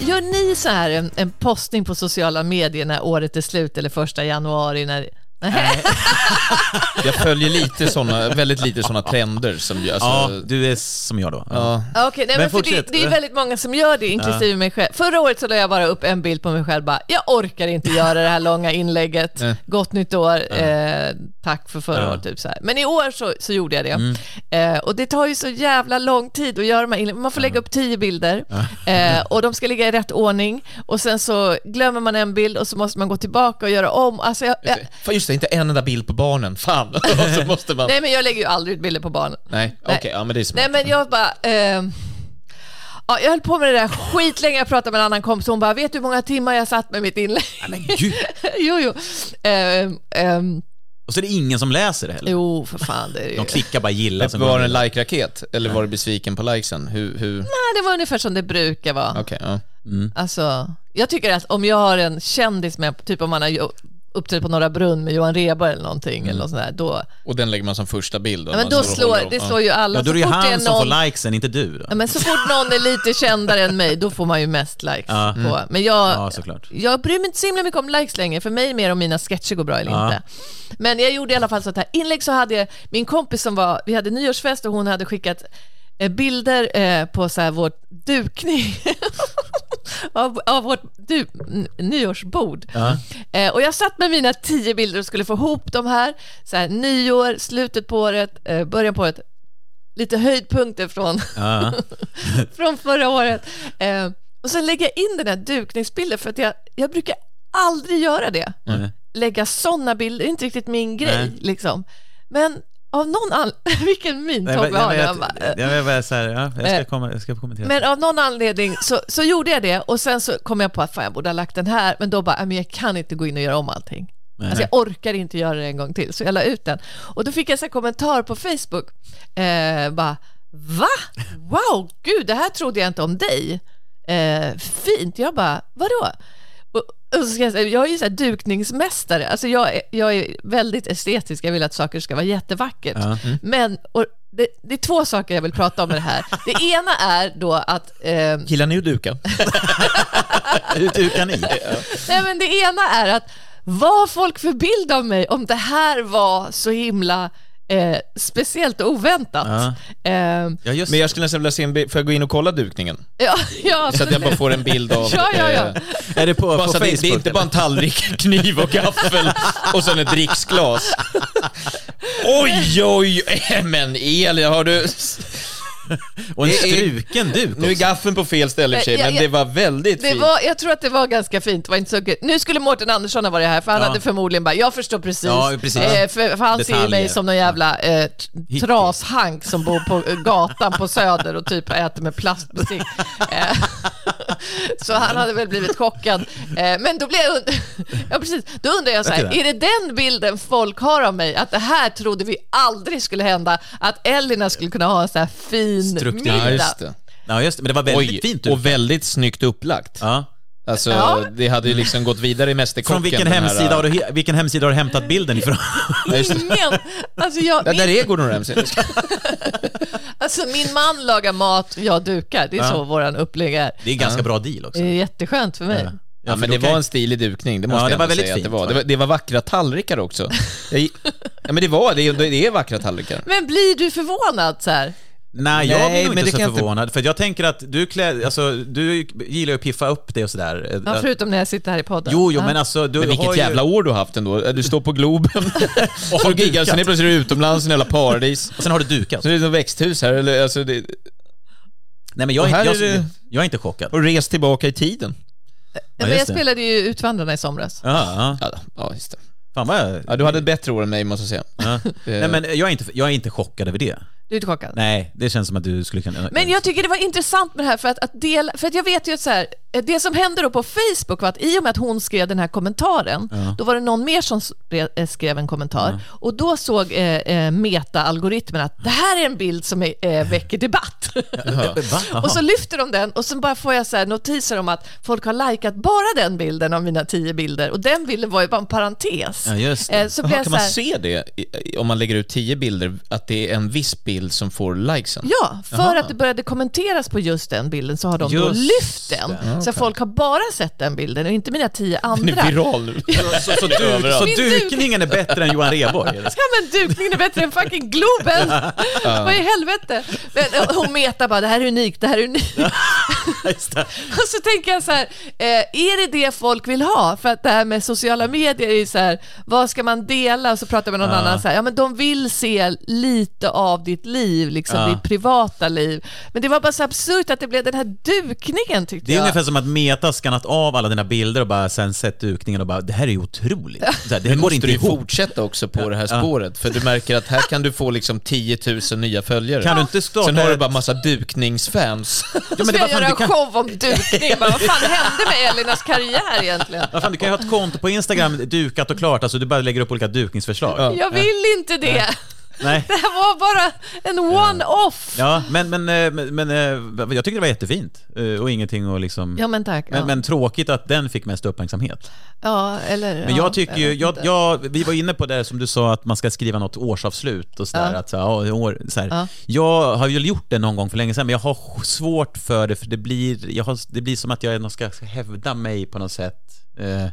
Gör ni så här en, en postning på sociala medier när året är slut eller första januari? När, nej, typ. Jag följer lite såna, väldigt lite såna trender som gör... Ja, Alltså, du är som jag då. ja. Okej, nej, men Men för det, fortsätt. det är väldigt många som gör det, inklusive mig själv. Förra året så la jag bara upp en bild på mig själv, bara, jag orkar inte göra det här långa inlägget. Gott nytt år, eh, tack för förra året. Typ så här. Men i år så, så gjorde jag det. Eh, och det tar ju så jävla lång tid att göra de här inläggen. Man får lägga upp tio bilder eh, och de ska ligga i rätt ordning. Och sen så glömmer man en bild och så måste man gå tillbaka och göra om. Alltså jag, jag, Fan just det, inte en enda bild på barnen. Fan! Och så måste man... nej, men jag lägger ju aldrig ut bilder på barnen. Nej, okej, ja men det är smart. Nej men jag bara... ehm, ja, jag höll på med det där skitlänge, jag pratade med en annan kompis hon bara, vet du hur många timmar jag satt med mitt inlägg? Men gud! jo, jo. Ehm, ehm, Och så är det ingen som läser det heller. jo, för fan det är det ju. De klickar bara gilla. sen går Var det de en like-raket? Eller var du besviken på likesen? Hur... hur... Nej, det var ungefär som det brukar vara. Okej, ja. Alltså, jag tycker att om jag har en kändis med, typ om han har jo- uppträtt på Norra Brunn med Johan Rheborg eller någonting, Mm. eller något sånt där, då, Och den lägger man som första bild? och ja, men man då står och slår, håller om. det Ja. slår ju alla. Ja, då är det ju Så fort han som någon- får likesen, inte du. Då. Ja, men så fort någon är lite kändare än mig, då får man ju mest likes. Ja. Mm. På. Men jag, Ja, såklart. jag bryr mig inte så himla mycket om likes längre, för mig är det mer om mina sketcher går bra eller inte. Men jag gjorde i alla fall så att här inlägg så hade jag, min kompis som var, vi hade nyårsfest och hon hade skickat eh, bilder eh, på så här vår dukning av, av vårt du, n- nyårsbord. Eh, och jag satt med mina tio bilder och skulle få ihop de här, så här nyår, slutet på året, eh, början på året, lite höjdpunkter från Ja. från förra året. Eh, och sen lägga in den här dukningsbilden för att jag, jag brukar aldrig göra det. Lägga sådana bilder, det är inte riktigt min grej Nej. liksom. Men av någon anledning, vilken min Nej, Tobbe men- har nej, nu. men Han bara, Jag eh. jag- jag bara så här, ja, jag Eh, ska komma- jag ska kommentera. Men av någon anledning så, så gjorde jag det och sen så kom jag på att fan, jag borde ha lagt den här, men då bara, "Äh, men jag kan inte gå in och göra om allting. Alltså jag orkar inte göra det en gång till, så jag la ut den. Och då fick jag så här kommentar på Facebook, eh, bara, va? Wow, gud, det här trodde jag inte om dig. Eh, fint, jag bara, vadå? Och, och så ska jag, säga, jag är ju så här dukningsmästare, alltså jag är, jag är väldigt estetisk, jag vill att saker ska vara jättevackert. Men, och, det, det är två saker jag vill prata om med det här. Det ena är då att eh, Gillar ni att duka? Hur dukar ni? Nej, men det ena är att vad har folk för bild av mig om det här var så himla eh, speciellt och oväntat? Eh, Ja, just Men jag skulle nästan vilja se en bild, får jag gå in och kolla dukningen? ja, ja, Så att jag bara absolut. får en bild av... Ja, ja, ja. eh, Är det på, på Bara så att det, Facebook? det är inte bara en tallrik, kniv och gaffel och sen ett dricksglas. Oj, oj, eh, men Elin, har du... Och en Det är- struken duk Nu är gaffeln på fel ställe i och för sig, Nej, jag- men det var väldigt Det fint. var, jag tror att det var ganska fint, det var inte så kul. Nu skulle Mårten Andersson ha varit här, för han Ja. hade förmodligen bara, jag förstår precis. Ja, precis. Eh, för, för han ser ju mig Detaljer. som någon jävla eh, t- Hippie. trashank som bor på eh, gatan på Söder och typ äter med plastmusik. Eh, så han hade väl blivit chockad. Eh, men då blev jag, und- ja, precis. Då undrar jag så här, Okej, är det den bilden folk har av mig? Att det här trodde vi aldrig skulle hända, att Elina skulle kunna ha en så här fin Struktur. middag. Ja, just det. Ja, just det. Men det var väldigt Oj, fint duk. och väldigt snyggt upplagt. Ja. Alltså, Ja. det hade ju liksom gått vidare i Mästerkocken. Från vilken den här- äh, hemsida, har du, he- vilken hemsida har du hämtat bilden ifrån? Ja, just det. Ingen! Alltså jag, Ja, där är Gordon Ramsay. Alltså min man lagar mat, jag dukar. Det är så våran upplägg är. Det är en ganska bra deal också. Eh, Det är jätteskönt för mig. Ja, men det var en stilig dukning, det måste Ja, det jag var ändå väldigt säga fint, att det var. va? Det var, det var vackra tallrikar också. Jag, gi- ja, men det var det, det är vackra tallrikar. Men blir du förvånad så här? Nej, jag Nej, blir nog men inte det så kan jag inte- förvånad. För jag tänker att du klär, alltså, du gillar ju att piffa upp det och sådär. Ja, förutom när jag sitter här i podden. Jo, jo, Ja. men alltså du Men har vilket ju... jävla år du har haft ändå. Du står på Globen och så giggar, sen är plötsligt utomlands i en jävla paradis. Sen har du dukat. Så det är ett växthus här, eller alltså det, Nej, men jag, Och är här inte- jag, är det- jag är inte chockad. och res tillbaka i tiden. men just jag det. spelade ju Utvandrarna i somras. Ja, ja. Ja, ja just det. Fan vad jag... Ja, du hade ett bättre år än mig måste jag säga. Eh, Ja. Nej, men jag är, inte, jag är inte chockad över det. Du är inte chockad? Nej, det känns som att du skulle kunna... Men jag tycker det var intressant med det här för att, att dela, för att jag vet ju att så här, eh, det som hände då på Facebook var att i och med att hon skrev den här kommentaren, då var det någon mer som spre- eh, skrev en kommentar och då såg eh, eh, meta-algoritmen att det här är en bild som är, eh, väcker debatt. Va? och så lyfter de den och sen bara får jag så här notiser om att folk har likat bara den bilden av mina tio bilder och den bilden var ju bara en parentes. Ja, just det. Eh, så blev Jaha, jag kan så man här, se det i- om man lägger ut tio bilder, att det är en viss bild som får likesen? Ja, för att det började kommenteras på just den bilden så har de då Just lyft det. den. Så folk har bara sett den bilden och inte mina tio andra. Den är viral nu. Så, så, duk, så Min duk. dukningen är bättre än Johan Rheborg? är det så? Ja men dukningen är bättre än fucking Globen! Vad i helvete? Men, och- och Meta bara, det här är unikt, det här är unikt. Just det. Och så tänker jag så här, eh, är det det folk vill ha? För att det här med sociala medier är ju så här, vad ska man dela? Och så pratar jag med någon annan så här, ja men de vill se lite av ditt liv, liksom ditt privata liv. Men det var bara så absurt att det blev den här dukningen tyckte Det är jag. ungefär som att Meta skannat av alla dina bilder och bara sen sett dukningen och bara det här är ju otroligt. Så här, det går måste inte du ju ihop. fortsätta också på det här spåret, för du märker att här kan du få liksom 10 000 nya följare. Kan du inte starta Sen har du ett- bara massa dukningsfans. Ja, men Ska det var jag fan, göra du en kan, show om dukning? Bara, vad fan hände med Elinas karriär egentligen? vad fan, du kan ju ha ett konto på Instagram dukat och klart, alltså du bara lägger upp olika dukningsförslag. Jag vill inte det. Nej. Det här var bara en one-off. Ja, men, men, eh, men, men eh, jag tycker det var jättefint eh, och ingenting att liksom... Ja men tack. Ja, Men, men tråkigt att den fick mest uppmärksamhet. ja eller... Men ja, jag tycker ju, vet jag, inte. jag, vi var inne på det som du sa att man ska skriva något årsavslut och sådär. Ja. Att, så, här, ja, i år, så här. Ja. Jag har ju gjort det någon gång för länge sedan, men jag har svårt för det, för det blir, jag har, det blir som att jag ska hävda mig på något sätt. Eh,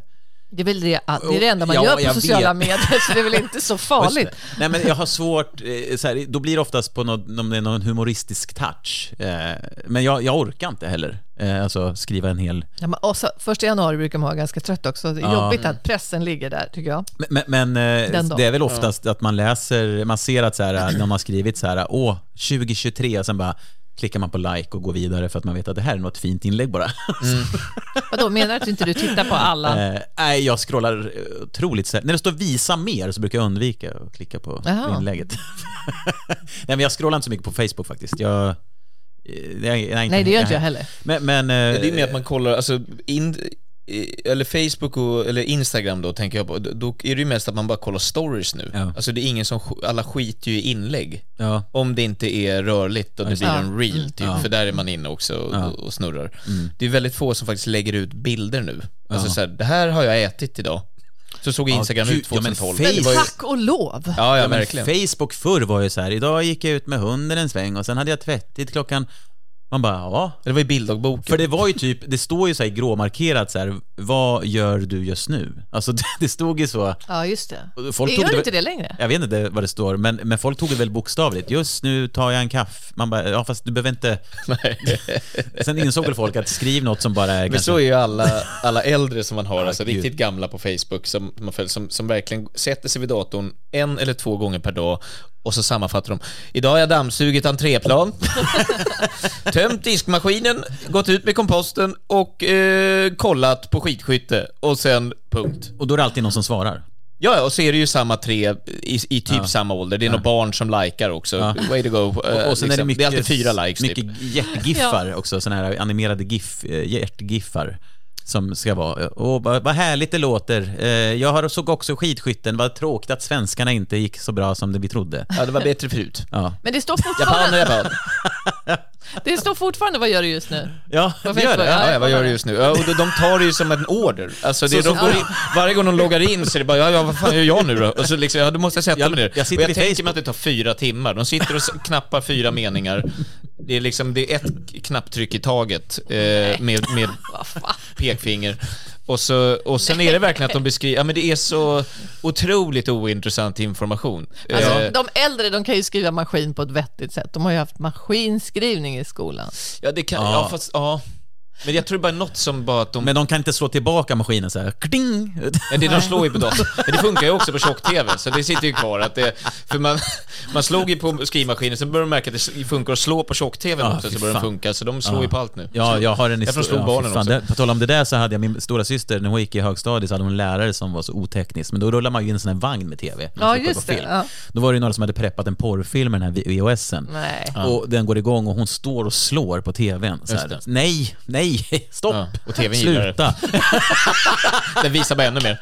Det är väl det, att- det, är det enda man Ja, gör på jag sociala vet. medier, så det är väl inte så farligt. Just det. Nej men jag har svårt, eh, så här, då blir det oftast på någon, om det är någon humoristisk touch. Eh, men jag, jag orkar inte heller, eh, alltså skriva en hel... Ja, men också, första januari brukar man vara ganska trött också. Det är Ja. jobbigt att pressen ligger där, tycker jag. Men, men eh, Den dagen. det är väl oftast att man läser, man ser att så här, när man har skrivit så här, åh, 2023, och sen bara klickar man på like och går vidare för att man vet att det här är något fint inlägg bara. Mm. Vadå, menar du att inte du tittar på alla? Eh, Nej, jag scrollar eh, otroligt sällan. När det står visa mer så brukar jag undvika att klicka på Jaha. inlägget. nej, men jag scrollar inte så mycket på Facebook faktiskt. Jag, eh, nej, nej, Nej, det gör inte jag heller. Men, men, eh, Det är mer att man kollar, alltså, in, i- eller Facebook och, eller Instagram då tänker jag på, då- då är det ju mest att man bara kollar stories nu. Ja. Alltså det är ingen som, sk- alla skiter ju i inlägg. ja. Om det inte är rörligt och det blir det. en reel, typ, för där är man inne också och, och snurrar. Det är väldigt få som faktiskt lägger ut bilder nu. Alltså så här, det här har jag ätit idag. Så såg Instagram gud, ut ja, men 2012. Facebook- Det var ju- Tack och lov! Ja, ja, Ja, men verkligen. Facebook förr var ju så här, idag gick jag ut med hunden en sväng och sen hade jag tvättit klockan... Man bara, ja, Det var ju bilddagboken. För det var ju typ, det står ju så här gråmarkerat så här, vad gör du just nu? Alltså det, det stod ju så. Ja, just det. Folk det tog gör det- inte det längre. Jag vet inte vad det står, men, men folk tog det väl bokstavligt. Just nu tar jag en kaffe. Man bara, ja fast du behöver inte... Sen insåg väl folk att skriv något som bara är Men kanske... så är ju alla, alla äldre som man har, alltså gud. riktigt gamla på Facebook som, man följer, som, som verkligen sätter sig vid datorn en eller två gånger per dag och så sammanfattar de. Idag har jag dammsugit entréplan, tömt diskmaskinen, gått ut med komposten och eh, kollat på skidskytte och sen punkt. Och då är det alltid någon som svarar. Ja, ja, och så är det ju samma tre i, i typ samma ålder. Det är några barn som likar också. Way to go. Och, Och, och sen är Eh, det mycket... liksom, det är alltid fyra likes typ. Mycket hjärtgiffar också, sådana här animerade GIF, eh, hjärtgiffar. Som ska vara, och vad vad härligt det låter. Eh, Jag har- såg också skidskytten, vad tråkigt att svenskarna inte gick så bra som det vi trodde. Ja, det var bättre förut. Ja. Men det står Japaner, fortfarande, japaner. det står fortfarande vad gör du just nu? Ja, På vi gör Facebook, det. ja. Ja. Ja, ja, vad gör du just nu? Ja, och de de tar det ju som en order. Alltså, det, de går in, varje gång de loggar in så är det bara, ja, ja vad fan gör jag nu då? Och så liksom, ja, då måste jag sätta mig ner. jag sitter och jag vid tänker Facebook. mig att det tar fyra timmar. De sitter och s- knappar fyra meningar. Det är liksom, det är ett k- knapptryck i taget eh, med, med pekfinger. Och, så, och sen är det verkligen att de beskriver, ja men det är så otroligt ointressant information. Alltså, Eh, de äldre de kan ju skriva maskin på ett vettigt sätt. De har ju haft maskinskrivning i skolan. ja det kan, ja. Ja. fast, ja. Men jag tror det bara är något som bara att de... Men de kan inte slå tillbaka maskinen så här. Kling! Ja, det de slår ju på datorn. Men det funkar ju också på tjock-tv, så det sitter ju kvar. Att det, för man, man slog ju på skrivmaskinen, sen började de märka att det funkar att slå på tjock-tv Ja, också, fy så började de fan. funka. Så de slår ju på allt nu. Ja, jag har en Jag histo- förstod ja, barnen fy fan. också. Det- På tal om det där så hade jag min stora syster när hon gick i högstadiet så hade hon en lärare som var så oteknisk, men då rullade man ju in en sån här vagn med TV. när man Ja, skulle kolla just på det, film. ja. Då var det ju några som hade preppat en porrfilm med den här VHSen. Nej. Och den går igång och hon står och slår på TVn. Så Just här, det. nej, nej, stopp! Ja, och TVn gillar det. Sluta! Den visar bara ännu mer.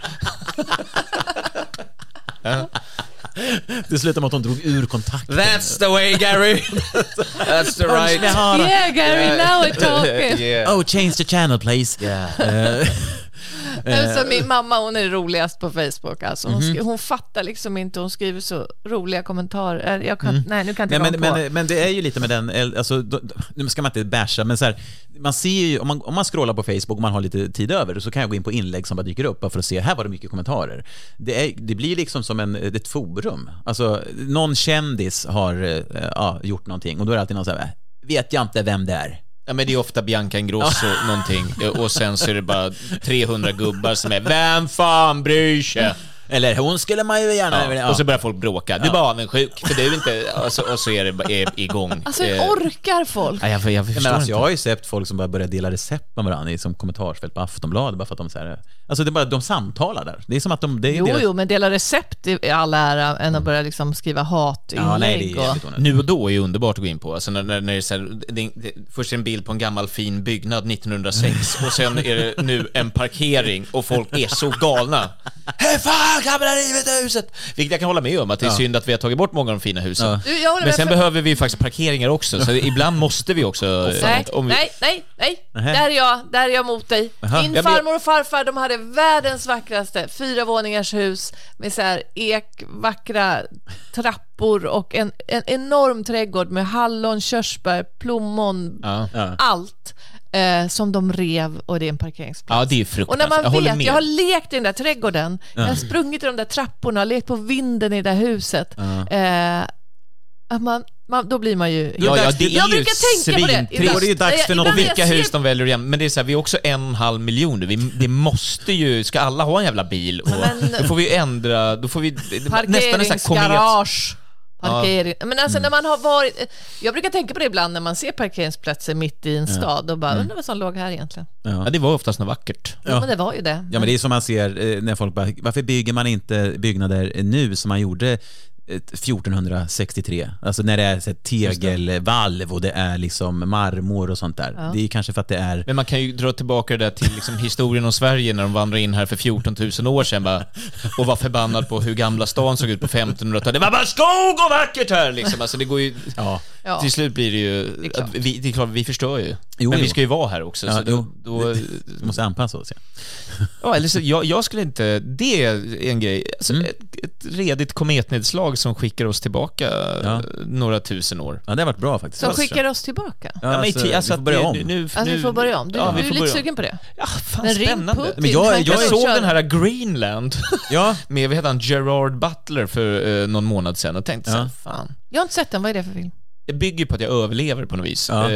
Det slutade med att hon drog ur kontakten. That's the way, Gary! That's the right... Yeah Gary, Eh. now we're talking. Yeah. Oh, change the channel please. Eh, Alltså, min mamma hon är roligast på Facebook. Alltså, hon, Mhm. skri- hon fattar liksom inte, hon skriver så roliga kommentarer. Jag kan, Nej, nu kan inte Mm. Nej, men, komma på. men, men det är ju lite med den, el- alltså, då- då- nu ska man inte basha, men så här, man ser ju, om man, om man scrollar på Facebook och man har lite tid över, så kan jag gå in på inlägg som bara dyker upp bara för att se, här var det mycket kommentarer. Det, är, det blir liksom som en, ett forum. Alltså, någon kändis har eh, ja, gjort någonting och då är det alltid någon så här, "Äh, vet jag inte vem det är. Ja, men det är ofta Bianca Ingrosso någonting, och sen så är det bara 300 gubbar som är Vem fan bryr sig? Eller hon skulle man ju gärna... Ja. Och så börjar folk bråka. Du är bara avundsjuk, för du är inte... Och så, och så är det bara, är igång. Alltså Eh, hur orkar folk? Nej, jag, jag Nej, förstår Men alltså, inte. jag har ju sett folk som bara börjar dela recept med varandra i som kommentarsfält på Aftonbladet bara för att de så här, alltså det är bara, de samtalar där. Det är som att de... Det är ju Jo, deras- jo, men dela recept i all ära än att börja liksom skriva hatinlägg. Ja, nej, det är och... jävligt onödigt. Nu och då är ju underbart att gå in på. Alltså när, när, när det är så här, det, det, först är det en bild på en gammal fin byggnad 1906 och sen är det nu en parkering och folk är så galna. Hur fan kan man ha rivit huset? Vilket jag kan hålla med om, att det är synd att vi har tagit bort många av de fina husen. Ja. Du, jag håller Men med, sen för- behöver vi ju faktiskt parkeringar också, så ibland måste vi också... Nej, om vi, nej, nej, nej. Nähä. Där är jag, där är jag mot dig. Aha. Min Ja, men- farmor och farfar, de hade världens vackraste fyra våningars hus med så här ekvackra trappor och en, en enorm trädgård med hallon, körsbär, plommon, Ja. Ja. allt eh, som de rev och det är en parkeringsplats. ja, det är ju Och fruktansvärt. när man Alltså, jag håller vet, med. jag har lekt i den där trädgården, jag har sprungit i de där trapporna, lekt på vinden i det där huset. Eh, att man, man, då blir man ju... Ja, ja, det är jag ju brukar tänka på det. svintrist. ibland. Och det är ju dags Nej, för något- ibland Och när vilka jag ser- hus de väljer att jäm- Men det är så här, vi är också en och en halv miljon nu. Vi, det måste ju, ska alla ha en jävla bil? Och Men- då får vi ju ändra, då får vi nästan en sån här komet. Parkeringsgarage. Parkering. Men alltså när man har varit... Jag brukar tänka på det ibland när man ser parkeringsplatser mitt i en stad och bara, Mm. undrar vad som låg här egentligen. Ja, det var oftast något vackert. Ja. men det var ju det. Ja men det är som man ser eh, när folk bara, varför bygger man inte byggnader eh, nu som man gjorde eh, 1463? Alltså när det är så här, tegelvalv och det är liksom marmor och sånt där. Det är kanske för att det är... Men man kan ju dra tillbaka det där till liksom historien om Sverige när de vandrade in här för 14 000 år sedan bara, och var förbannad på hur gamla stan såg ut på 1500-talet. Det var bara skog och vackert här liksom. Alltså det går ju... Ja. Ja. Till slut blir det ju... är klart. att vi, det är klart, vi förstör ju. Jo, Men vi jo. ska ju vara här också. Ja, så då, då, då, vi måste anpassa oss. Ja. Ja, eller så, jag, jag skulle inte... Det är en grej. Alltså, Mm. ett, ett redigt kometnedslag som skickar oss tillbaka Ja. några tusen år. ja, det har varit bra faktiskt. Som skickar oss tillbaka. Ja, Alltså- men i alltså, ti- vi får börja att om. det- Nu, nu, Alltså vi får börja om. Du, ja, du är vi får lite börja om. sugen på det. Ja, Ah, fan Men ring spännande. Putin, Men jag- han kan Jag ju såg köra. den här Greenland Ja. med, vad heter han, Gerard Butler för eh, någon månad sedan och tänkte så här, Ja. fan. Jag har inte sett den, vad är det för film? Det bygger ju på att jag överlever på något vis. Ja. Eh,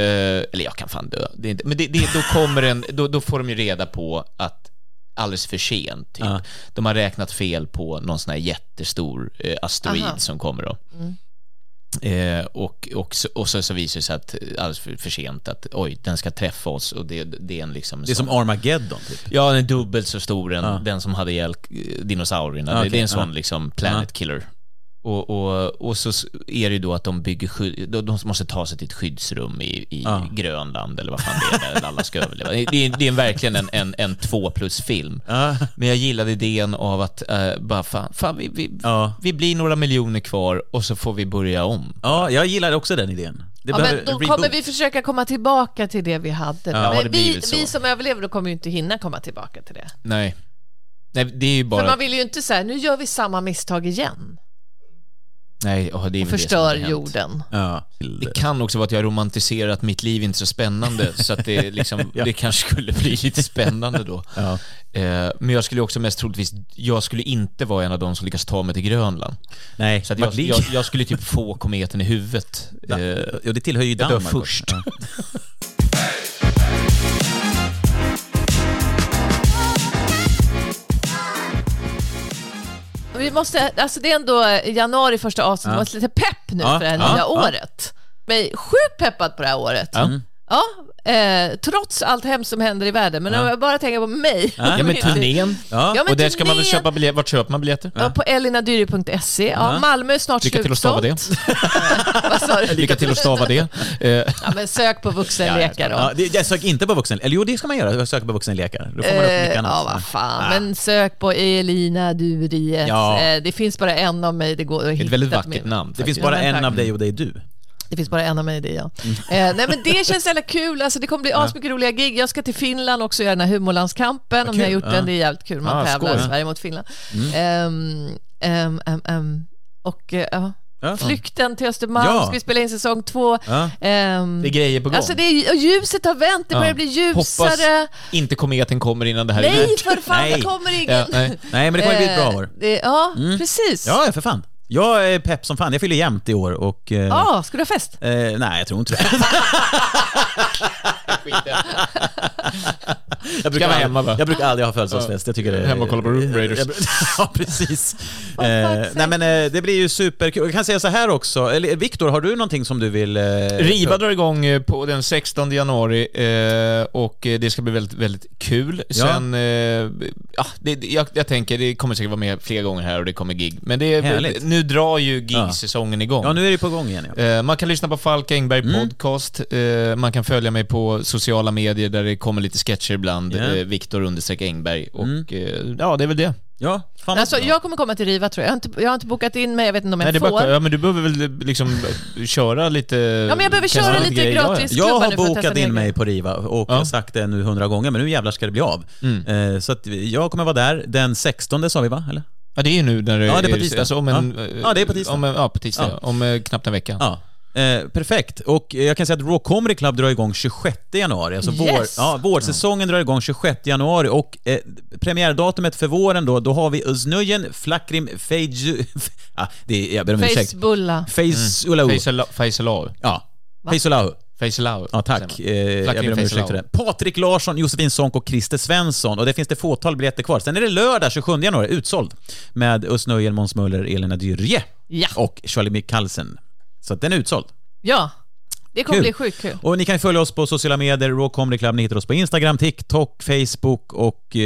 eller jag kan fan dö. Det är inte, men det, det, då kommer en, då, då får de ju reda på att alldeles för sent, typ. Ja. De har räknat fel på någon sån här jättestor eh, asteroid Aha. Mm. som kommer då. Eh, och, och, så- och så, så visar det sig att eh, alldeles för, för sent att oj, den ska träffa oss och det, det är en liksom... Det är som Armageddon typ. Ja, den är dubbelt så stor än Ja. den som hade ihjäl eh, dinosaurierna. Det- Okej, Det är en sån ja. liksom planet killer. Och, och, och så s- är det ju då att de bygger sky- de, de måste ta sig till ett skyddsrum i, i Ja. Grönland eller vad fan det är där alla ska överleva. Det är, det är verkligen en, en, en två plus film. Ja. Men jag gillade idén av att eh, bara fan, fan vi, vi, Ja. vi blir några miljoner kvar och så får vi börja om. ja, jag gillar också den idén. Det Ja, behöver men då reboot. kommer vi försöka komma tillbaka till det vi hade. har men det vi, blivit så? vi som överlever då kommer ju inte hinna komma tillbaka till det. Nej. Nej, det är ju bara... För man vill ju inte säga, nu gör vi samma misstag igen. Nej, åh, det är och väl det som har förstör hänt. jorden. Ja. Det kan också vara att jag romantiserar att mitt liv inte är så spännande, så att det, liksom, det kanske skulle bli lite spännande då. Ja. Eh, men jag skulle också mest troligtvis, jag skulle inte vara en av de som lyckas ta mig till Grönland. Nej, Så att vart jag, ligger... jag, jag skulle typ få kometen i huvudet. Ja, Eh, ja, det tillhör ju dör Danmark. också. först. Ja. Vi måste, alltså det är ändå januari första avsnittet, Ja. vi måste lite pepp nu Ja, för det här ja, nya ja. året. Jag är sjukt peppad på det här året. Ja. Mm. eh, trots allt hemskt som händer i världen, men om jag bara tänker på mig. Ja, Ja men Mitt- turnén. Ja. Ja, men och där ska man väl turnén- köpa biljetter, vart köper man biljetter? Ja, på elinadyri.se. Ja, Ja. Malmö är snart Lycka till att stava det. slutsålt. Vad sa du? Lycka till att stava det. Eh, Ja, men sök på vuxenlekar då. Ja, det, jag sök inte på vuxen... Eller jo, det ska man göra. Jag söker på vuxenlekar. Då får man upp Eh, mycket ja, annat. vad fan. Ah. Men sök på Elina Duriet. Ja. Eh, det finns bara en av mig det går att hitta. ett väldigt på vackert min- namn. Det finns Ja, bara men en tack. av Mm. dig och det är du. Det finns bara en av mig, det är jag. Eh, nej, men det känns jävla kul. Alltså, det kommer bli asmycket roliga gig. Jag ska till Finland också göra den här humorlandskampen. Om ni har kul. gjort Ja. Mm. den, det är jävligt kul. Man Ah, tävlar skoj. Sverige mot Finland. Ehm, ehm, ehm, ehm. Och eh, ja. Ja. Flykten till Östermalm Ja. ska vi spela in säsong två. Ja. Ehm, Det är grejer på gång. alltså det är, och ljuset har vänt, det börjar Ja. bli ljusare. Hoppas inte kometen kommer innan det här är Nej, ut. för fan, Nej. det kommer ingen. Ja, nej. Nej, men det kommer bli ett bra år. Mm. Eh, det- Ja, precis. Ja. Ja, för fan. Jag är pepp som fan. Jag fyller jämnt i år och... eh, Ah, ska du ha fest? Eh, nej, jag tror inte det. jag Ska vara aldrig- hemma, va? Jag brukar aldrig ha födelsedagsfest. Jag tycker det är- Hemma och kolla på Room Raiders. Jag brukar- ja, precis. eh, nej, men eh, det blir ju superkul. Jag kan säga så här också. Eller Viktor, har du någonting som du vill... Eh, Riva drar igång eh, på den 16 januari eh, och eh, det ska bli väldigt, väldigt kul. Ja. Sen, eh, ja, det, det- jag, jag tänker, det kommer säkert vara med flera gånger här och det kommer gig. Men det är, Härligt. nu drar ju gigsäsongen igång. Ja, nu Mm. är det på gång igen. Ja. Eh, Man kan lyssna på Falk Engberg podcast, Eh, man kan följa mig på sociala medier där det kommer lite sketcher ibland, Ja. Mm. yeah. Viktor understreck Engberg och eh, ja, det är väl det. ja fan Alltså, bra. jag kommer komma till Riva tror jag. Jag har inte, jag har inte bokat in mig, jag vet inte om jag Nej, det får. är bara, ja, men du behöver väl liksom köra lite... Ja, men jag behöver köra lite gratis. Jag klubbar har nu för att testa bokat in nya mig grejer. på Riva och jag har sagt det nu hundra gånger, men nu jävlar ska det bli av. Mm. Eh, så att jag kommer vara där den 16 sa vi va? Eller? Ja, det är ju nu när det Ja, det är på tisdag. Alltså, om en, Ja. eh, Ja, det är på tisdag. Om, en- ja, på tisdag. Ja. Ja. Om eh, knappt en vecka. Ja. Eh, perfekt. Och eh, jag kan säga att Raw Comedy Club drar igång 26 januari. Alltså vår, Yes! ja, vårsäsongen drar igång 26 januari och eh, premiärdatumet för våren då, då har vi Özz Flakrim, Feiju... Ah, det är, jag ber om ursäkt. Facebulla. Faizulahu. Faisal- Faisalau. Ja. Faizulahu. Faisalau. Ja, tack. Eh, jag ber om ursäkt för det. Patrik Larsson, Josefin Sonck och Christer Svensson. Och det finns det fåtal biljetter kvar. Sen är det lördag 27 januari, utsåld, med Özz Nujen, Måns Möller, Elina Dyrje Ja. och Charlie Mikkalsen. Så att den är utsåld. ja. Det kommer Kul. bli sjukt kul. Och ni kan ju följa oss på sociala medier, Raw Comedy Club. Ni hittar oss på Instagram, TikTok, Facebook och eh,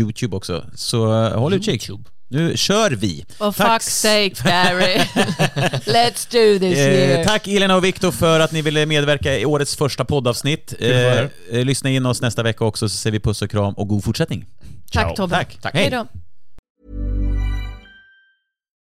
YouTube också. Så eh, håll utkik. Nu kör vi. For Tack- fuck's sake, Barry. Let's do this year. Eh, tack Elena och Viktor för att ni ville medverka i årets första poddavsnitt. att vara Eh, här. eh, lyssna in oss nästa vecka också så säger vi puss och kram och god fortsättning. Tack, Tobbe. Tack. Tack. Hej då.